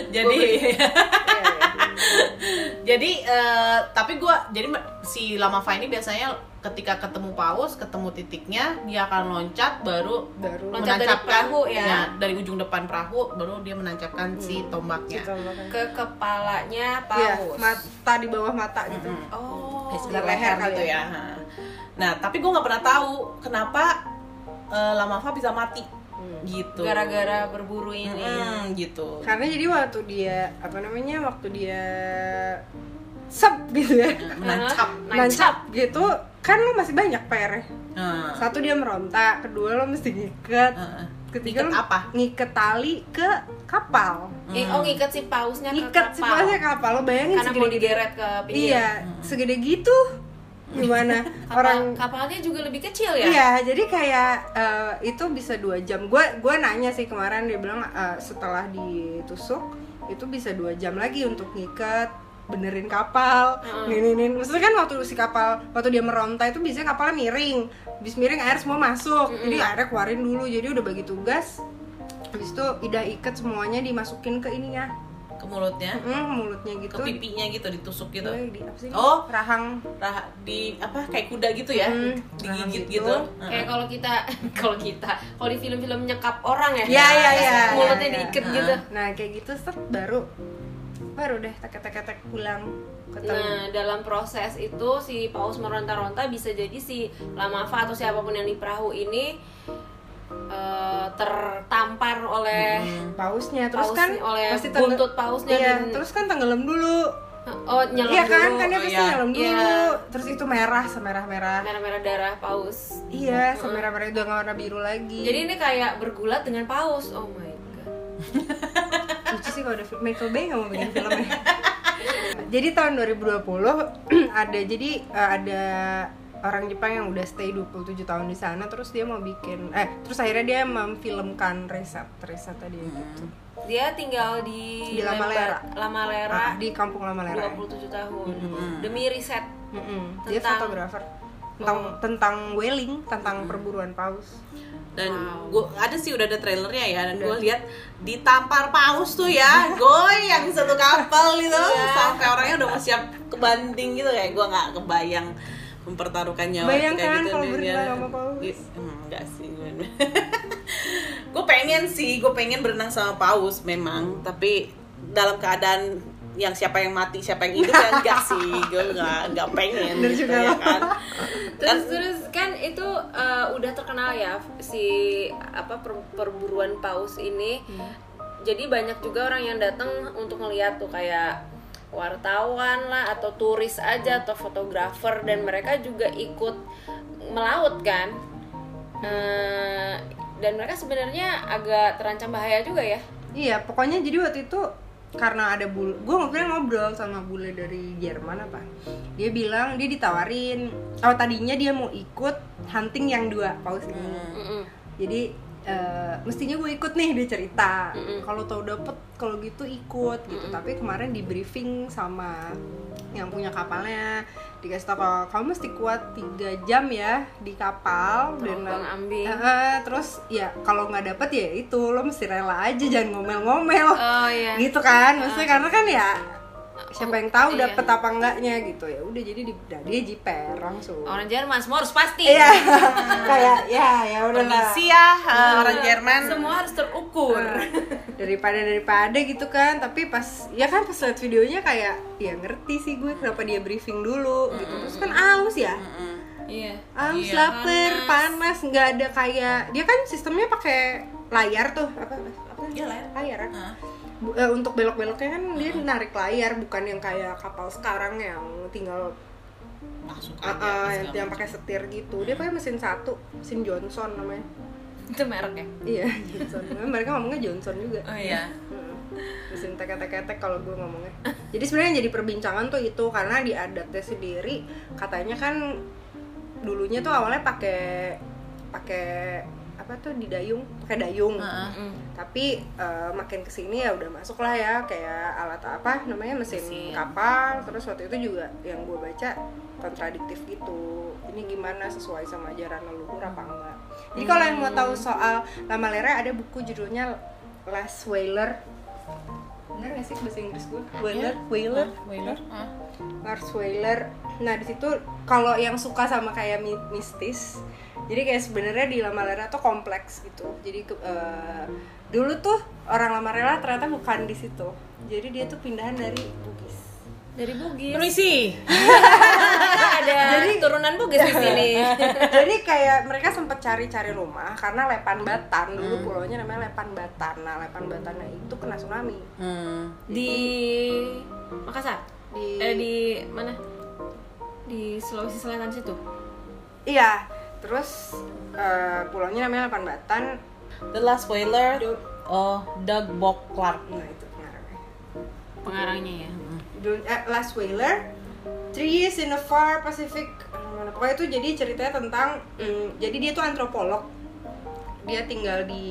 jadi
Iya, iya.
jadi eh, tapi gua jadi me- si Lamafa ini biasanya ketika ketemu paus, ketemu titiknya, dia akan loncat baru
baru <laughs>
Loncat dari
menancapkan-
perahu ya. Hmm.
dari ujung depan perahu baru dia menancapkan si tombaknya.
Gitu, makanya.
Ke kepalanya
Iya,
paus.
mata di bawah mata gitu.
Oh.
Kayak sebelah
di leher
leher gitu
kali
ya. Nah, tapi gue nggak pernah tahu kenapa eh, Lamafa eh, bisa mati. gitu
Hmm. gara-gara berburu ini
Mm, gitu
karena jadi waktu dia apa namanya waktu dia sep gitu ya
menancap
nancap gitu kan lo masih banyak PR
Nah,
satu dia meronta kedua lo mesti ngikat
Heeh.
ketiga
Ngiket
lo
apa?
ngiket tali ke kapal
Eh, oh ngikat si pausnya ke
ngiket
kapal.
sih maksudnya kapal lo bayangin
karena mau ya. digeret ke pinggir
kan iya segede gitu gimana
<laughs> Kapal-
orang
kapalnya juga lebih kecil ya
Iya, jadi kayak eh, itu bisa dua jam. Gue gua nanya sih kemarin dia bilang eh, setelah ditusuk itu bisa dua jam lagi untuk ngikat, benerin kapal, ninin. Maksudnya kan waktu si kapal waktu dia meronta itu biasanya kapalnya miring, bis miring air semua masuk. Jadi airnya keluarin dulu. Jadi udah bagi tugas. Habis itu udah ikat semuanya dimasukin ke ininya,
ke mulutnya
Mm, mulutnya
ke
gitu.
pipinya gitu ditusuk gitu
Eh, di- apa sih?
Oh.
rahang.
Rah- di apa kayak kuda gitu ya
Hmm,
digigit
nah,
gitu,
gitu.
Heeh.
kayak kalau kita <laughs> kalau kita kalau di film-film nyekap orang ya
Iya, iya, iya,
mulutnya
iya, iya.
diikat
Nah.
gitu
Nah kayak gitu set baru baru deh tek tek tek pulang ketemu.
Nah, dalam proses itu si paus meronta-ronta bisa jadi si Lamafa atau siapapun yang di perahu ini eh, tertampar oleh
Pausnya
Nah,
terus
Paus-
kan
oleh
pasti tengge-
buntut pausnya
Iya,
dan-
terus kan tenggelam dulu.
oh nyelam
iya
dulu.
kan kan dia
oh
pasti
iya.
nyelam dulu.
Iya. Nah,
Terus itu merah semerah merah.
merah-merah darah paus.
Iya semerah merah udah nggak warna biru lagi.
Jadi ini kayak bergulat dengan paus. Oh my god.
lucu sih kalau ada film- Michael Bay nggak mau bikin
<laughs>
filmnya. jadi tahun 2020 <clears throat> ada jadi eh, ada orang Jepang yang udah stay 27 tahun di sana terus dia mau bikin eh terus akhirnya dia memfilmkan riset riset tadi gitu.
Dia tinggal di,
Di Lamalera.
Lemba- Lamalera
Ah, di kampung Lamalera. ya.
27 tahun. Demi riset.
Mm-mm. Dia
Tentang-
fotografer tentang tentang whaling, tentang perburuan paus.
dan gua ada sih udah ada trailernya ya dan gue lihat ditampar paus tuh ya goyang satu kapal gitu
Iya.
sampai orangnya udah mau siap kebanding gitu kayak gue nggak kebayang mempertaruhkan nyawa kayak
Bayangkan
gitu
kalau
Dia-
berenang
dia-
sama paus.
dia- hmm, enggak sih <laughs> gue pengen sih gue pengen berenang sama paus memang tapi dalam keadaan yang siapa yang mati siapa yang hidup ya enggak sih gue nggak nggak pengen
Bener
gitu
juga.
ya
<laughs>
kan
Terus terus kan itu eh, udah terkenal ya si apa per- perburuan paus ini. Jadi banyak juga orang yang datang untuk ngeliat tuh kayak wartawan lah atau turis aja atau fotografer dan mereka juga ikut melaut kan. Eh, dan mereka sebenarnya agak terancam bahaya juga ya.
Iya, pokoknya jadi waktu itu karena ada bule, gue ngobrol ngobrol sama bule dari Jerman apa, dia bilang dia ditawarin, oh tadinya dia mau ikut hunting yang dua paus ini,
Mm-mm.
jadi eh, mestinya gue ikut nih dia cerita, kalau tau dapet kalau gitu ikut gitu, tapi kemarin di briefing sama yang punya kapalnya dikasih tau kalau kamu mesti kuat tiga jam ya di kapal dan
Terombang ambing.
Eh, terus ya kalau nggak dapet ya itu lo mesti rela aja jangan ngomel-ngomel
Oh iya.
gitu kan maksudnya karena kan ya siapa yang tahu
Iya.
dapet apa enggaknya gitu ya udah jadi di, nah, dia jiper langsung
Orang Jerman semua harus pasti.
iya <laughs> kayak ya ya udah lah
permisi ya
Iya.
eh, orang Jerman
Semua harus terukur.
<laughs> Ah. daripada daripada gitu kan tapi pas ya kan pas liat videonya kayak ya ngerti sih gue kenapa dia briefing dulu gitu terus kan aus ya
Mm.
Iya.
aus lapar panas nggak ada kayak dia kan sistemnya pakai layar tuh apa apa, apa?
Iya,
ya.
layar.
kan? Bu- eh, untuk belok-beloknya kan dia narik layar bukan yang kayak kapal sekarang yang tinggal
masuk aja
ah,
segala
ah, yang, yang pakai setir gitu dia pakai mesin satu mesin Johnson namanya
Itu merek ya.
iya Johnson mereka ngomongnya Johnson juga
Oh iya.
Hmm. mesin teketek-teketek kalau gue ngomongnya jadi sebenarnya yang jadi perbincangan tuh itu karena di adatnya sendiri katanya kan dulunya tuh awalnya pakai pakai apa tuh di dayung pakai dayung
Mm.
tapi eh, makin kesini ya udah masuk lah ya kayak alat apa namanya mesin,
Mesin.
kapal terus waktu itu juga yang gue baca kontradiktif gitu ini gimana sesuai sama ajaran leluhur apa enggak jadi kalau yang mau tahu soal lama lera ada buku judulnya Last Whaler bener gak sih bahasa Inggris gue Whaler Whaler
Whaler? Ah.
Lars Weiler. Nah di situ kalau yang suka sama kayak mi- mistis, jadi kayak sebenarnya di Lamalera tuh kompleks gitu. Jadi ke- eh, dulu tuh orang Lamalera ternyata bukan di situ. Jadi dia tuh pindahan dari Bugis.
Dari Bugis.
Permisi.
<laughs> ada
Jadi-
turunan bugis di
<laughs>
sini.
<laughs> jadi kayak mereka sempat cari-cari rumah karena Lepan Batan dulu
Hmm.
pulaunya namanya Lepan Batan nah Lepan Batan itu kena tsunami
Hmm.
di Makassar.
di
Eh di mana? Di Sulawesi Selatan situ.
iya terus eh, pulaunya namanya Lepan Batan
The Last Whaler, oh Doug Bob Clark.
nah itu pengarangnya
Pengarangnya ya.
Dun- eh, Last Whaler Three Years in the Far Pacific eh, pokoknya itu jadi ceritanya tentang mm, jadi dia tuh antropolog dia tinggal di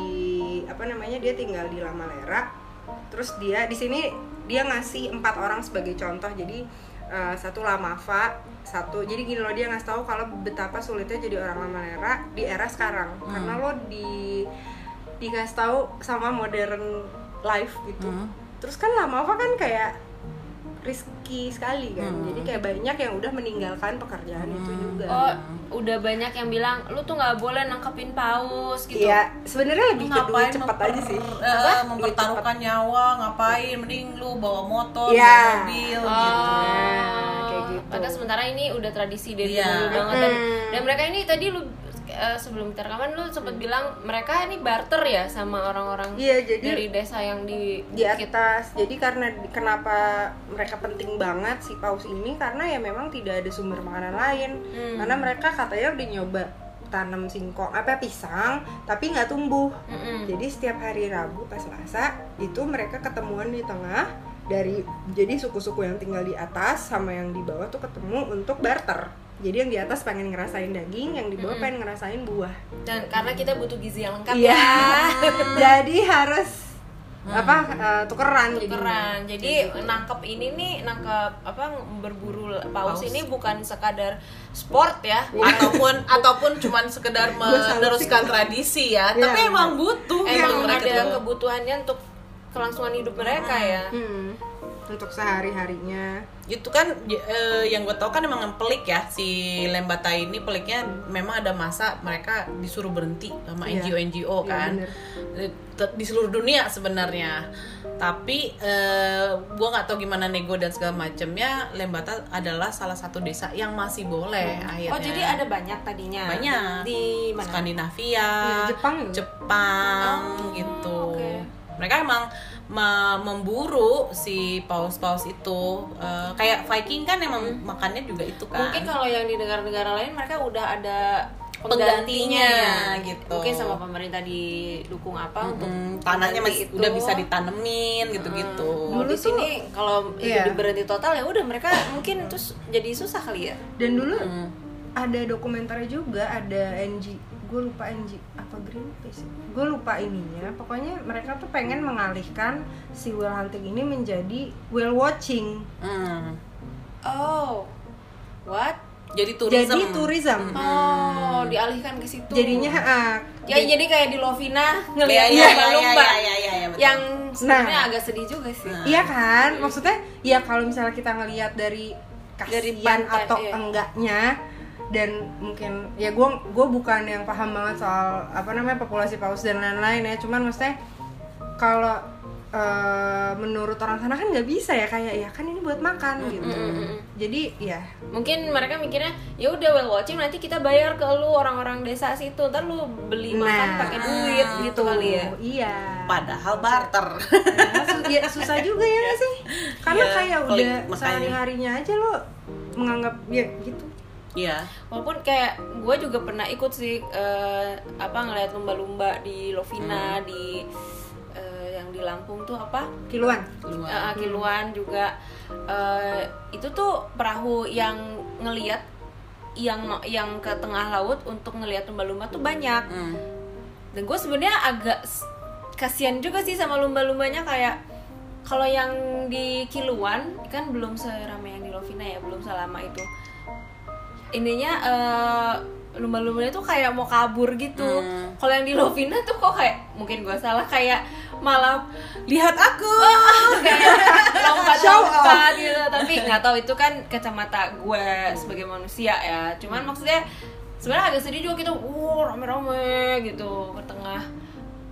apa namanya dia tinggal di Lama Lera terus dia di sini dia ngasih empat orang sebagai contoh jadi eh, satu Lamafa satu jadi gini loh dia ngasih tahu kalau betapa sulitnya jadi orang Lama Lera di era sekarang karena lo di dikasih tahu sama modern life gitu
Hmm.
terus kan Lamafa kan kayak risky sekali kan jadi kayak banyak yang udah meninggalkan pekerjaan itu juga
Oh, udah banyak yang bilang lu tuh nggak boleh nangkepin paus gitu.
Iya, sebenarnya lebih ke duit
Ngapain
cepat
memper-
aja sih.
eh, mempertaruhkan nyawa, ngapain? Mending lu bawa motor,
Iya.
bawa mobil
Oh,
<laughs> gitu.
kayak gitu.
Padahal sementara ini udah tradisi dari
Iya.
dulu banget dan,
Mm.
dan mereka ini tadi lu eh, sebelum kita rekaman lu sempet bilang mereka ini barter ya sama orang-orang
Iya, jadi
dari desa yang di
di
bukit.
atas. Jadi karena di- kenapa mereka penting banget si paus ini karena ya memang tidak ada sumber makanan lain.
Hmm.
Karena mereka katanya udah nyoba tanam singkong apa pisang tapi nggak tumbuh.
Mm-mm.
Jadi setiap hari Rabu pas Selasa itu mereka ketemuan di tengah dari jadi suku-suku yang tinggal di atas sama yang di bawah tuh ketemu untuk barter. Jadi yang di atas pengen ngerasain daging, yang di bawah
Hmm.
pengen ngerasain buah.
Dan karena kita butuh gizi yang lengkap
Iya.
ya.
jadi harus apa eh, tukeran, jadi.
Hmm. tukeran jadi nangkep ini nih nangkep apa berburu paus, ini bukan sekadar sport ya
ataupun ataupun cuman sekedar meneruskan tradisi ya, tapi
Iya.
emang butuh gitu
emang
mereka
ada
tuh.
kebutuhannya untuk kelangsungan hidup mereka ya
Hmm, untuk sehari harinya.
itu kan j- eh, yang gue tau kan emang yang pelik ya si Lembata ini peliknya memang ada masa mereka disuruh berhenti sama
Iya.
NGO NGO
Iya,
kan
bener.
Eh, te- di seluruh dunia sebenarnya tapi eh, gue nggak tahu gimana nego dan segala macemnya Lembata adalah salah satu desa yang masih boleh akhirnya
oh jadi ada banyak tadinya
Banyak.
di mana
Skandinavia
Iya, Jepang juga.
Jepang gitu
Oh, oke.
mereka emang me- memburu si paus-paus itu Eh, kayak Viking kan emang makannya juga itu kan
Hmm. mungkin kalau yang di negara-negara lain mereka udah ada
Penggantinya,
penggantinya ya.
gitu.
mungkin sama pemerintah didukung apa untuk
Hmm, tanahnya
pengganti
masih udah bisa ditanemin gitu-gitu
Kalau di sini kalau itu
Iya.
diberhenti total ya udah <laughs> mereka mungkin terus jadi susah kali ya
Dan dulu ada dokumenternya juga ada NG gue lupa NG apa Greenpeace gue lupa ininya pokoknya mereka tuh pengen mengalihkan si whale hunting ini menjadi whale watching
Hmm.
Oh, what?
jadi Hmm. turisme
jadi tourism
Oh, dialihkan ke situ.
jadinya ah,
ya jadi kayak di Lovina
Iya,
ngelihat
iya, iya,
lumba-lumba
iya, iya, iya, betul. Hmm.
yang sebenarnya
Nah.
agak sedih juga sih.
iya kan maksudnya ya kalau misalnya kita ngelihat dari
Dari
kasihan
pantai,
atau
iya.
enggaknya dan mungkin ya gue gue bukan yang paham banget soal apa namanya populasi paus dan lain-lain ya cuman maksudnya kalau eh, menurut orang sana kan nggak bisa ya kayak ya kan ini buat makan gitu jadi ya
Mungkin mereka mikirnya ya udah well watching nanti kita bayar ke lu orang-orang desa situ, ntar lu beli makan
Nah,
pakai duit gitu kali ya.
tuh, iya
padahal barter <laughs>
Padahal su- ya, susah juga ya nggak sih karena
Iya,
kayak
pelik,
udah
makanya.
sehari harinya aja lo menganggap ya gitu
iya
Walaupun kayak gue juga pernah ikut sih eh, apa ngelihat lumba-lumba di Lovina
Hmm.
di eh, yang di Lampung tuh apa?
kiluan
luar
Eh, kiluan juga Eh, itu tuh perahu yang ngeliat yang yang ke tengah laut untuk ngelihat lumba-lumba tuh banyak
Hmm.
dan gue sebenarnya agak s- kasihan juga sih sama lumba-lumbanya kayak kalau yang di kiluan kan belum seramai yang di Lovina ya belum selama itu ininya eh, lumba-lumbanya tuh kayak mau kabur gitu kalau yang di Lovina tuh kok kayak mungkin gue salah kayak malah lihat aku kayak lompat-lompat gitu tapi nggak tahu itu kan kacamata gue sebagai manusia ya cuman maksudnya sebenarnya agak sedih juga gitu wow rame-rame gitu ke tengah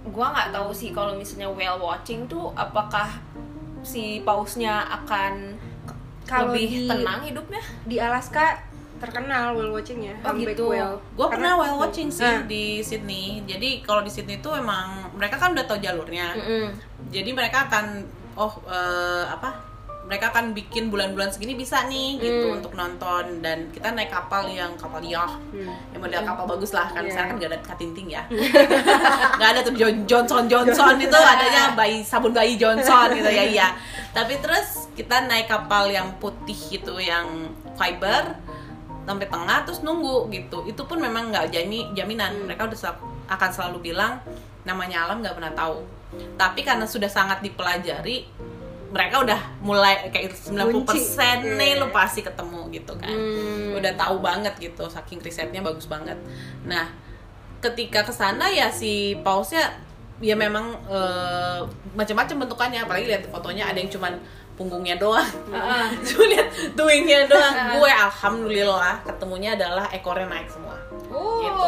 gue nggak tahu sih kalau misalnya whale watching tuh apakah si pausnya akan
kalau
lebih
di-
tenang hidupnya
di Alaska terkenal whale watching ya
Oh,
humpback
gitu.
whale
Gue pernah
Karena-
whale watching sih
Nah.
di Sydney. Jadi kalau di Sydney tuh emang mereka kan udah tahu jalurnya.
Hmm.
Mm-mm.
Jadi mereka akan oh eh, apa? Mereka akan bikin bulan-bulan segini bisa nih gitu
Hmm.
untuk nonton dan kita naik kapal yang kapal yah
Hmm.
yang model kapal bagus lah kan
Iya. Hmm.
sekarang kan gak ada katinting ya <laughs> nggak ada tuh John- Johnson Johnson itu adanya bayi sabun bayi Johnson gitu ya iya tapi terus kita naik kapal yang putih gitu yang fiber sampai tengah terus nunggu gitu itu pun memang nggak jami jaminan mereka udah sel- akan selalu bilang namanya alam nggak pernah tahu tapi karena sudah sangat dipelajari mereka udah mulai kayak 90% nih lu pasti ketemu gitu kan udah tahu banget gitu saking risetnya bagus banget nah ketika kesana ya si pausnya ya memang eh, macam-macam bentukannya apalagi lihat fotonya ada yang cuman punggungnya doang
Ah,
<laughs> cuma lihat doingnya doang gue alhamdulillah ketemunya adalah ekornya naik semua
oh.
gitu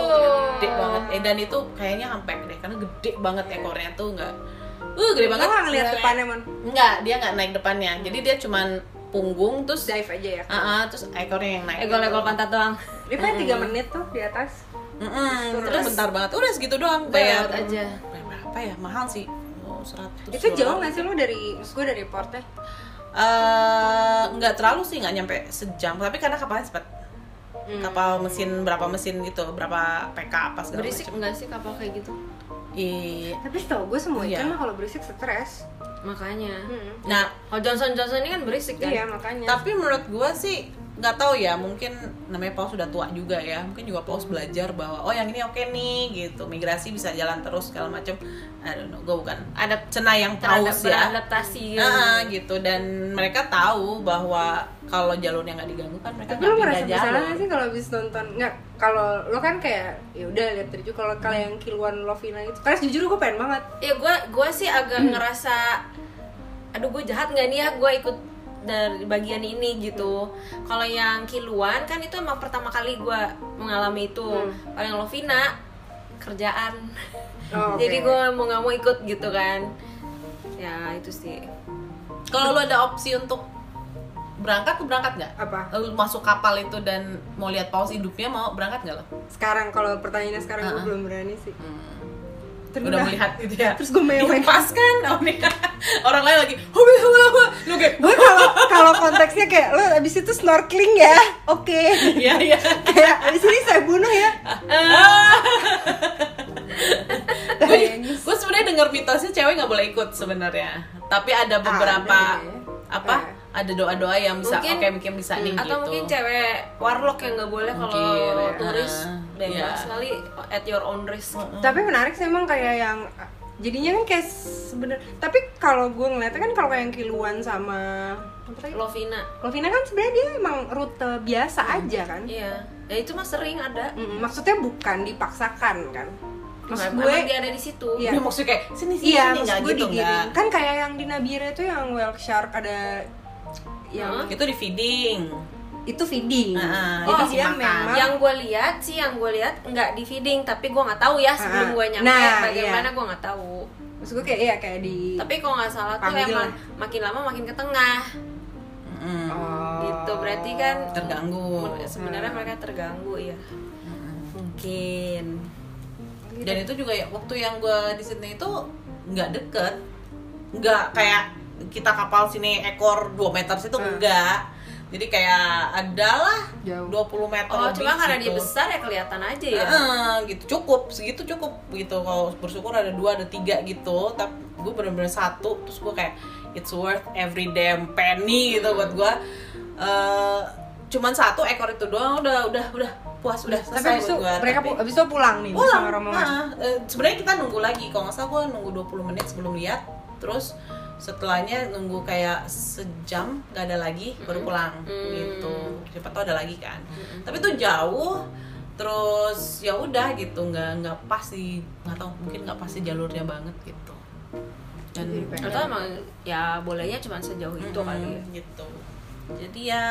gede banget eh, dan itu kayaknya hampek deh karena gede banget ekornya tuh nggak uh gede banget
Lo nggak ngeliat depannya mon
nggak dia nggak naik depannya jadi dia cuman punggung terus
dive aja ya
Ah, ah, terus ekornya yang naik
Egol-egol pantat doang.
ini paling tiga menit tuh di atas
Mm-mm, terus bentar banget. Udah segitu doang bayar.
Bayar aja.
Bayar Berapa ya? Mahal sih. Oh, 100.
itu jauh nggak sih lo dari maksud gue dari portnya
Eh, nggak terlalu sih, nggak nyampe sejam. Tapi karena kapalnya cepat. Kapal mesin berapa mesin gitu, berapa PK apa segala
Berisik
macam.
enggak sih kapal kayak gitu?
Iya.
tapi setahu gue semua
Iya.
ikan mah kalau berisik stres
Makanya.
Hmm.
Nah,
Kalau Johnson Johnson ini kan berisik kan?
iya makanya
tapi menurut gua sih nggak tahu ya mungkin namanya paus sudah tua juga ya mungkin juga paus belajar bahwa oh yang ini oke nih gitu migrasi bisa jalan terus segala macam I don't know gue bukan ada cenayang
Terhadap
paus ya
beradaptasi gitu.
Iya.
Nah, gitu dan mereka tahu bahwa kalau jalurnya nggak diganggu kan mereka
tapi
nggak
lo
pindah
merasa
jalur.
bersalah nggak sih kalau abis nonton nggak kalau lo kan kayak ya udah lihat dari juga kalau kalau yang kiluan Lovina itu karena jujur gue pengen banget
ya gue gua sih agak
Hmm.
ngerasa aduh gue jahat nggak nih ya gue ikut dari bagian ini gitu kalau yang kiluan kan itu emang pertama kali gue mengalami itu
Hmm.
kalau yang Lovina kerjaan
Oh, oke.
<laughs> jadi gue mau nggak mau ikut gitu kan ya itu sih
Kalau lu ada opsi untuk berangkat tuh berangkat nggak?
apa
Lu masuk kapal itu dan mau lihat paus hidupnya mau berangkat nggak lo?
sekarang kalau pertanyaannya sekarang gue
Uh-uh.
belum berani sih Terus
Udah melihat gitu ya.
terus gue mewek
Pas kan oh, nih. <laughs> orang lain lagi "Hubah, hubah, hubah." lu kayak <laughs>
gue kalau kalau konteksnya kayak lo abis itu snorkeling ya oke
iya iya
kayak abis ini saya bunuh <laughs> ya Tayangis.
gue sebenarnya dengar mitosnya cewek nggak boleh ikut sebenarnya tapi ada beberapa
Ada ya.
apa ada doa doa yang bisa oke
Mungkin- Hmm,
mungkin bisa nih
atau
gitu
mungkin cewek warlock yang nggak boleh kalau
Mungkin, ya.
turis bebas
Iya.
kali at your own risk
tapi menarik sih emang kayak yang jadinya kan kayak sebener tapi kalau gue ngeliatnya kan kalau kayak yang kiluan sama apa tadi?
Lovina
Lovina kan sebenarnya dia emang rute biasa aja kan
iya ya itu mah sering ada
Mm, maksudnya bukan dipaksakan kan maksud
Emang
gue
dia ada di situ
Iya.
Dia maksudnya kayak sini sini
iya
sini
maksud
nggak
gue
gitu nggak
digiring kan kayak yang di Nabire itu yang whale shark ada yang
Hah?
itu di feeding
itu feeding
Ah,
jadi
oh,
dia
makan.
memang
yang gue lihat sih yang gue lihat nggak di feeding tapi gue nggak tahu ya sebelum
Ah,
gue nyampe
nah,
bagaimana
iya.
gue nggak tahu
maksud gue kayak iya kayak di
tapi kalau nggak salah tuh
Panggil.
emang makin lama makin ke tengah
Mm-mm.
Oh.
gitu berarti kan
terganggu
sebenarnya mereka terganggu ya mungkin
dan itu juga ya waktu yang gue di Sydney itu nggak deket nggak kayak kita kapal sini ekor 2 meter situ enggak jadi kayak adalah
Jauh.
20 meter
oh
lebih
cuma karena dia
gitu.
besar ya kelihatan aja ya
Heeh, gitu cukup segitu cukup gitu kalau bersyukur ada dua ada tiga gitu tapi gue bener-bener satu terus gue kayak it's worth every damn penny gitu buat gue Eh, cuman satu ekor itu doang udah udah udah puas udah selesai
tapi abis itu
buat gue
mereka pu- abis itu pulang nih
pulang
sama rombongan
Nah, eh, sebenarnya kita nunggu lagi kalau nggak salah gue nunggu 20 menit sebelum lihat terus setelahnya nunggu kayak sejam nggak ada lagi baru pulang
Mm.
gitu siapa tau ada lagi kan tapi tuh jauh terus ya udah gitu nggak nggak pas di nggak tahu mungkin nggak pas di jalurnya banget gitu dan
Jadi pengen.
atau emang ya bolanya cuma sejauh itu kali ya
gitu jadi ya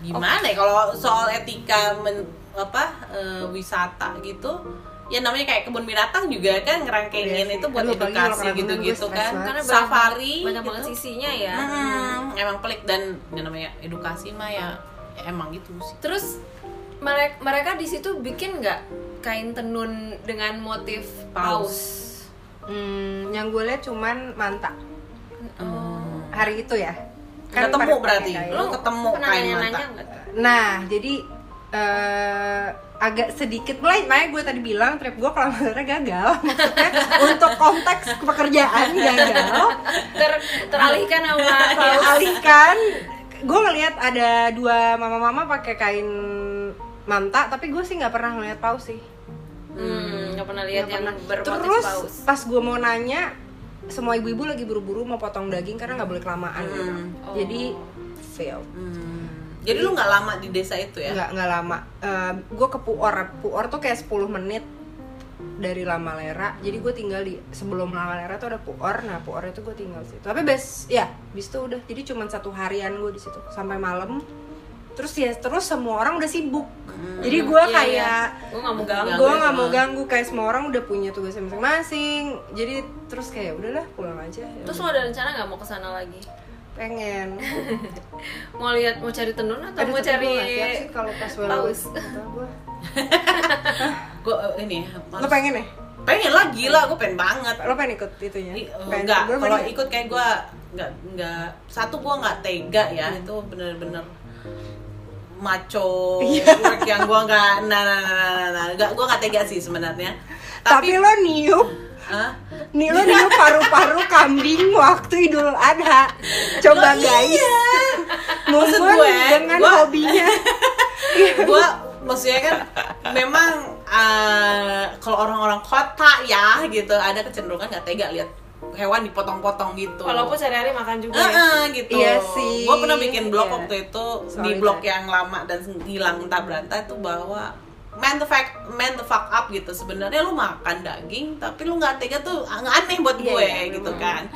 gimana ya kalau soal etika men, apa eh, wisata gitu ya namanya kayak kebun binatang juga kan ngerangkengin
Iya sih.
itu buat
Aduh, apalagi kalau
edukasi
kena
gitu
gunung gue
gitu
stres
kan
banget.
karena banyak,
safari
banyak
gitu.
Hmm.
Hmm,
banget sisinya ya
Mm, emang pelik dan yang namanya edukasi mah ya emang gitu sih
Terus mereka mereka di situ bikin nggak kain tenun dengan motif paus?
Hmm, yang gue lihat cuman manta
Oh.
hari itu ya.
ketemu
pada-
berarti
kayak-
lu ketemu
pernah
kain
nanya-nanya
mata
nggak tuh?
Nah, jadi eh, agak sedikit mulai, makanya gue tadi bilang trip gue <laughs> kelamarnya gagal. Maksudnya untuk konteks pekerjaan gagal.
Ter- teralihkan
<laughs>
sama paus.
Alihkan, gue ngelihat kan, ada dua mama-mama pakai kain manta, tapi gue sih nggak pernah ngelihat paus sih.
Hmm, nggak pernah lihat
Nggak
yang
pernah.
bermotif
Terus
paus.
pas gue mau nanya, semua ibu-ibu lagi buru-buru mau potong daging karena nggak boleh kelamaan. gitu.
Oh.
Jadi fail.
Hmm. jadi lu nggak lama di desa itu ya
nggak nggak lama gue ke Puor Puor tuh kayak 10 menit dari Lamalera jadi gue tinggal di sebelum Lamalera tuh ada Puor nah Puor itu gue tinggal situ tapi bes ya bis itu udah jadi cuman satu harian gue di situ sampai malam terus ya terus semua orang udah sibuk
Hmm.
jadi gue
Iya,
kayak
iya. Gua nggak mau ganggu. ya,
gue nggak mau
semua.
ganggu kayak semua orang udah punya tugasnya masing-masing jadi terus kayak udahlah pulang aja Ya
Terus lo ada rencana nggak mau kesana lagi? <laughs>
pengen
Mau lihat mau cari tenun atau
Aduh,
mau
tapi gua
cari
nggak siap sih kalau pas
paus.
gue
gue eh, ini
lo pengen ya
pengen lah gila gue pengen banget
lo pengen ikut itunya
Jadi, eh,
Pengen
enggak
gua
kalau
pengen.
ikut kayak gue nggak nggak satu gue nggak tega ya itu bener-bener maco work yang gue nggak nah nah nah nah, nah, nah. nggak gue nggak tega sih sebenarnya
tapi,
tapi,
lo niup
Hah?
nih lo niup paru-paru kambing waktu Idul Adha coba
Lo
guys
iya. Maksud
mumpun
gue,
dengan
gua- <laughs>
hobinya
gue maksudnya kan memang eh, kalau orang-orang kota ya gitu ada kecenderungan nggak tega lihat hewan dipotong-potong gitu
Walaupun sehari-hari makan juga.
Eh,
ya.
eh, gitu.
Iya sih.
Gue pernah bikin blog
Iya.
waktu itu di
Sorry,
blog
Kak.
yang lama dan hilang entah berantah itu bahwa man the fuck man the fuck up gitu. Sebenarnya lu makan daging tapi lu nggak tega tuh aneh buat
Iya,
gue
iya,
gitu kan.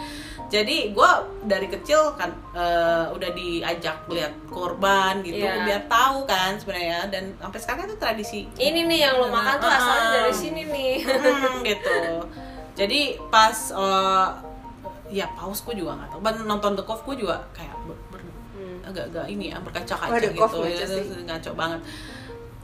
Jadi gue dari kecil kan eh, udah diajak lihat korban gitu
Iya.
biar tahu kan sebenarnya dan sampai sekarang itu tradisi
Ini nih yang lo makan tuh
Ah.
asalnya dari sini nih.
Hmm, <laughs> gitu jadi pas eh, ya paus gue juga nggak tahu Ban- nonton The Cove gue juga kayak ber- ber-
Hmm.
agak-agak ini ya berkaca-kaca
Oh, The
gitu
Cove
ya,
ngaco sih.
ngaco banget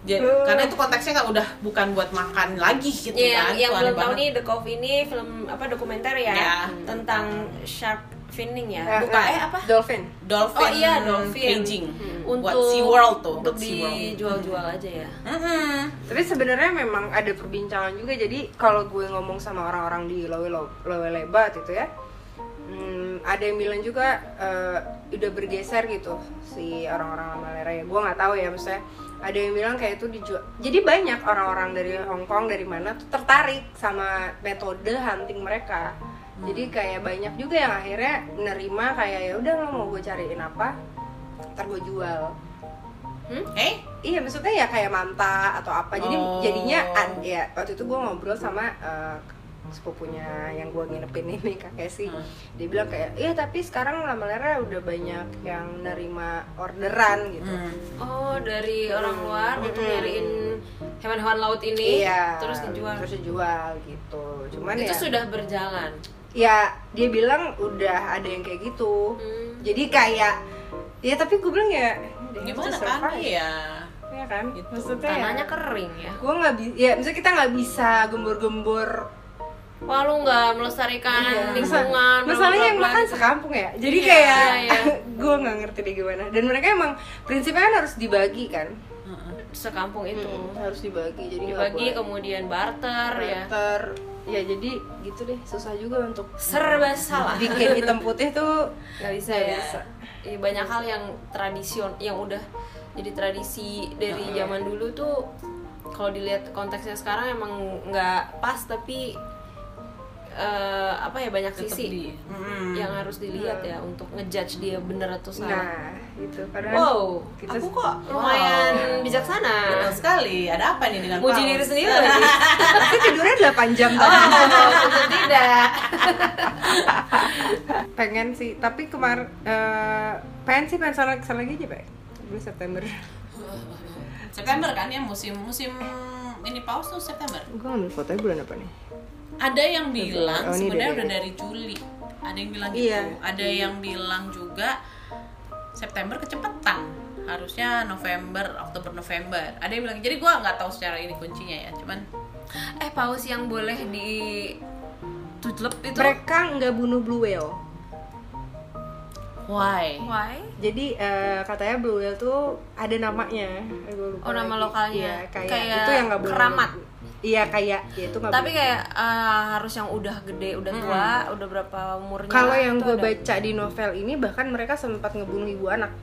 jadi,
Hmm.
Eh.
karena itu konteksnya nggak udah bukan buat makan lagi gitu
Iya,
kan
yang, yang
Tuh, aneh
belum tahu
banget.
nih The Cove ini film apa dokumenter ya,
Ya.
tentang shark finning ya.
Eh,
Buka
eh,
eh apa?
dolphin
dolphin,
Oh iya, dolphin.
caging
Untuk
buat Sea World tuh
untuk
buat SeaWorld. Hmm.
dijual-jual aja ya.
Mm-mm.
tapi sebenarnya memang ada perbincangan juga jadi kalau gue ngomong sama orang-orang di Lowe Lowe Leba itu ya hmm, ada yang bilang juga eh, udah bergeser gitu si orang-orang Malera ya gue nggak tahu ya maksudnya ada yang bilang kayak itu dijual jadi banyak orang-orang dari Hong Kong dari mana tuh tertarik sama metode hunting mereka jadi kayak banyak juga yang akhirnya nerima kayak ya udah lo mau gue cariin apa ntar gue jual
eh
Iya maksudnya ya kayak manta atau apa jadi
Oh.
jadinya an ya waktu itu gue ngobrol sama eh, sepupunya yang gue nginepin ini kakek sih
Hmm.
dia bilang kayak iya tapi sekarang lama-lama udah banyak yang nerima orderan gitu
Hmm.
Oh, dari orang luar untuk
Mm-mm.
nyariin hewan-hewan laut ini
Hmm. iya
terus dijual.
terus dijual gitu cuman
itu
ya
sudah berjalan.
ya dia bilang udah ada yang kayak gitu
Hmm.
jadi kayak ya tapi gue bilang ya they have to
gimana kan
survive.
iya
Iya kan
Gitu.
maksudnya ya,
Tanahnya kering ya.
gue nggak bisa ya maksudnya kita nggak bisa gembor-gembor
Wah, lu nggak melestarikan
Iya.
lingkungan.
Masa- masalahnya yang
bla-bla-bla.
makan sekampung ya jadi
Iya,
kayak
iya.
<laughs> gue nggak ngerti deh gimana dan mereka emang prinsipnya kan harus dibagi kan
sekampung itu.
harus dibagi jadi
Dibagi kemudian barter ya.
ter ya jadi gitu deh susah juga
<laughs>
untuk
Serba salah.
bikin hitam putih tuh nggak bisa
Iya. Iya, banyak hal yang tradision yang udah jadi tradisi dari zaman dulu tuh kalau dilihat konteksnya sekarang emang nggak pas tapi eh, apa ya banyak
Tetep
sisi
di- Mm-mm.
yang harus dilihat ya untuk ngejudge dia bener atau salah.
nah itu padahal
wow,
kita-
aku
<laughs>
kok lumayan
Wow.
bijaksana.
Betul sekali ada apa nih dengan
Muji
paus?
diri sendiri lagi.
aku tidurnya 8 jam tadi
<laughs> Oh, tentu tidak.
pengen sih tapi kemarin eh, pengen sih pengen salah salah lagi aja pak bulan September
September kan ya musim musim ini paus tuh September.
gue ngambil fotonya bulan apa nih
Ada yang bilang
Oh, ini
sebenarnya
dari-
udah dari Juli. Ada yang bilang gitu.
Iya.
Ada yang bilang juga September kecepatan.
harusnya November Oktober November ada yang bilang jadi gue nggak tahu secara ini kuncinya ya cuman
eh paus yang boleh di tutlep itu
mereka nggak bunuh blue whale
why
why
jadi eh, katanya blue whale tuh ada namanya Eh, gua lupa
Oh, nama
lagi.
lokalnya.
Iya, kayak,
Kayak
itu yang nggak boleh
keramat.
iya kayak ya itu nggak
tapi
boleh.
kayak eh, harus yang udah gede udah tua udah berapa umurnya
kalau yang
itu
gue
ada.
baca di novel ini bahkan mereka sempat ngebunuh ibu anak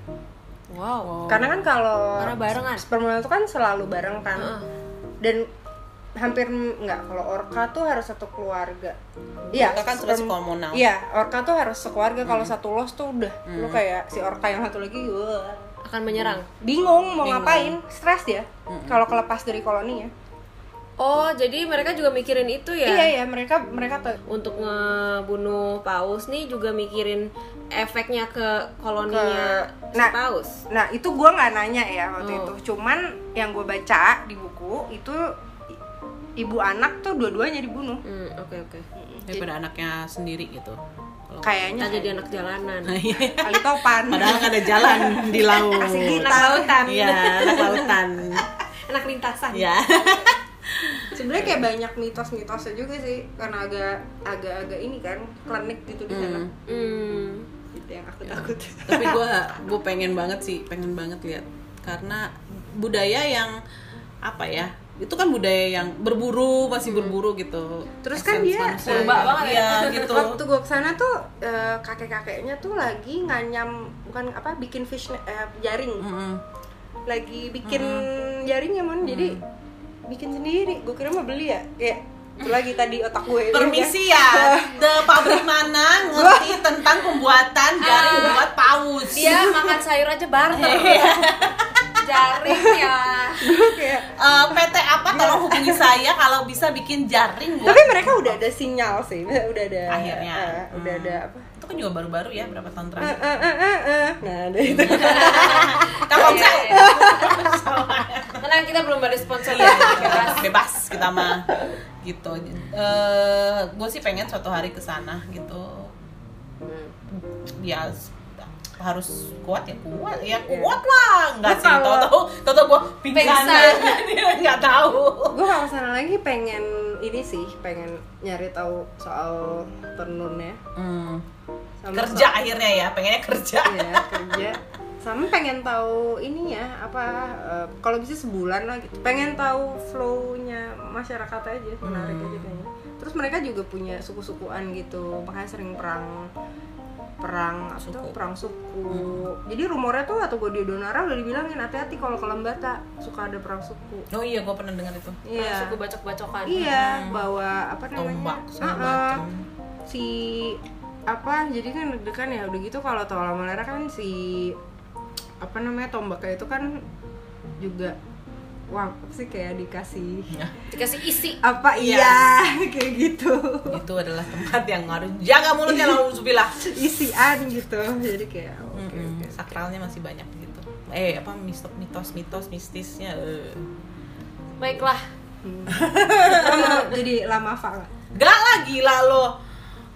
wow
karena kan kalau
Karena barengan.
sperma itu kan selalu bareng kan
Heeh.
dan hampir nggak kalau orka tuh harus satu keluarga Iya,
Orca kan
sperm-
terus komunal.
iya orka tuh harus sekeluarga kalau satu los tuh udah lu kayak si orka yang satu lagi wah,
akan menyerang
bingung mau ngapain stres dia kalau kelepas dari koloninya
oh jadi mereka juga mikirin itu ya
iya iya mereka mereka tuh
untuk ngebunuh paus nih juga mikirin efeknya ke koloninya
Ke-
si
nah.
paus
Nah itu gue nggak nanya ya waktu
Hmm.
itu. Cuman yang gue baca di buku itu i- ibu anak tuh dua-duanya dibunuh.
Hmm, oke oke.
Iya. daripada anaknya sendiri gitu Kalau-
Kayaknya
Kita jadi anak jalanan.
kali <laughs> topan.
<laughs> padahal nggak ada jalan di laut
Asik kita.
anak lautan.
iya anak lautan
<laughs> anak lintasan.
ya <laughs>
Sebenarnya kayak banyak mitos-mitosnya juga sih karena agak agak-agak ini kan klinik gitu di sana.
Hmm.
Gitu yang aku takut.
tapi gue gue pengen banget sih pengen banget lihat karena budaya yang apa ya itu kan budaya yang berburu masih berburu gitu
Hmm. Terus kan
Essence
dia,
manusia.
purba banget
Iya, gitu
<laughs> Waktu gue kesana tuh eh, kakek-kakeknya tuh lagi nganyam bukan apa bikin fish eh, jaring.
Mm-mm.
lagi bikin
Hmm.
jaringnya mon jadi bikin sendiri gue kira mah beli ya kayak itu lagi tadi otak gue
Permisi ya, the pabrik mana ngerti tentang pembuatan jaring
Ah.
buat paus?
Iya.
Dia makan sayur aja barter. Jaring ya.
<laughs> kayak
Eh, PT apa tolong hubungi saya kalau bisa bikin jaring buat
tapi mereka udah ada sinyal sih udah ada
Akhirnya.
eh, udah
Hmm.
ada apa
itu kan juga baru-baru ya berapa tahun
Eh, <laughs>
terakhir
eh, eh, eh, eh. nah ada itu Iya,
Telkomsel
Tenang kita belum ada sponsor ya. Bebas.
bebas kita mah gitu eh gue sih pengen suatu hari ke sana gitu
<laughs>
ya s- harus kuat ya kuat ya kuat lah nggak sih
Iya. Kalau-
tahu-tahu tahu gue pingsan
Pingsan.
<laughs> nggak tahu
gue kalau kesana lagi pengen ini sih pengen nyari tahu soal tenunnya
Hmm,
sama
kerja akhirnya ya pengennya kerja
soal- iya, kerja sama pengen tahu ininya apa eh, kalau bisa sebulan lah gitu pengen tahu flownya masyarakat aja menarik aja kayaknya terus mereka juga punya suku-sukuan gitu makanya sering perang perang apa tuh, perang suku Hmm. jadi rumornya tuh atau gue di Donara udah dibilangin hati-hati kalau ke Lembata suka ada perang suku
oh iya gue pernah dengar itu
iya
Suku bacok-bacokan.
Iya, bawa apa namanya?
Ah. Tombak, sama
Ah, ah. si apa? Jadi kan deg-degan ya udah gitu kalau tawala malera kan si apa namanya tombaknya itu kan juga wah apa sih kayak dikasih
Dikasih isi.
apa iya <laughs> kayak gitu
itu adalah tempat yang harus jaga
<laughs>
mulutnya lalu subilah
isian gitu jadi kayak oke
Mm-mm,
oke.
sakralnya masih banyak gitu eh apa mitos mitos mitos mistisnya eh.
Baiklah.
Kamu Hmm. jadi lama apa
Oh
nggak?
gak lah gila lo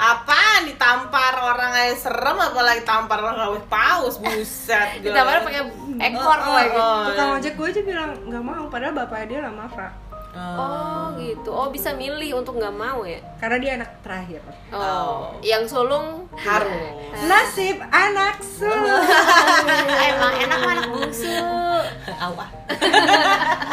apaan ditampar orang aja serem apalagi tampar orang awet paus buset gila.
Ditampar pakai ekor
Oh, oh,
lagi.
oh.
tukang ojek gue aja bilang nggak mau padahal bapaknya dia lama apa
Eh,
Oh gitu. Oh bisa milih untuk nggak mau ya.
karena dia anak terakhir
Nah.
Oh. Yang sulung <laughs>
haru
nasib anak sulung
emang enak anak bungsu.
awah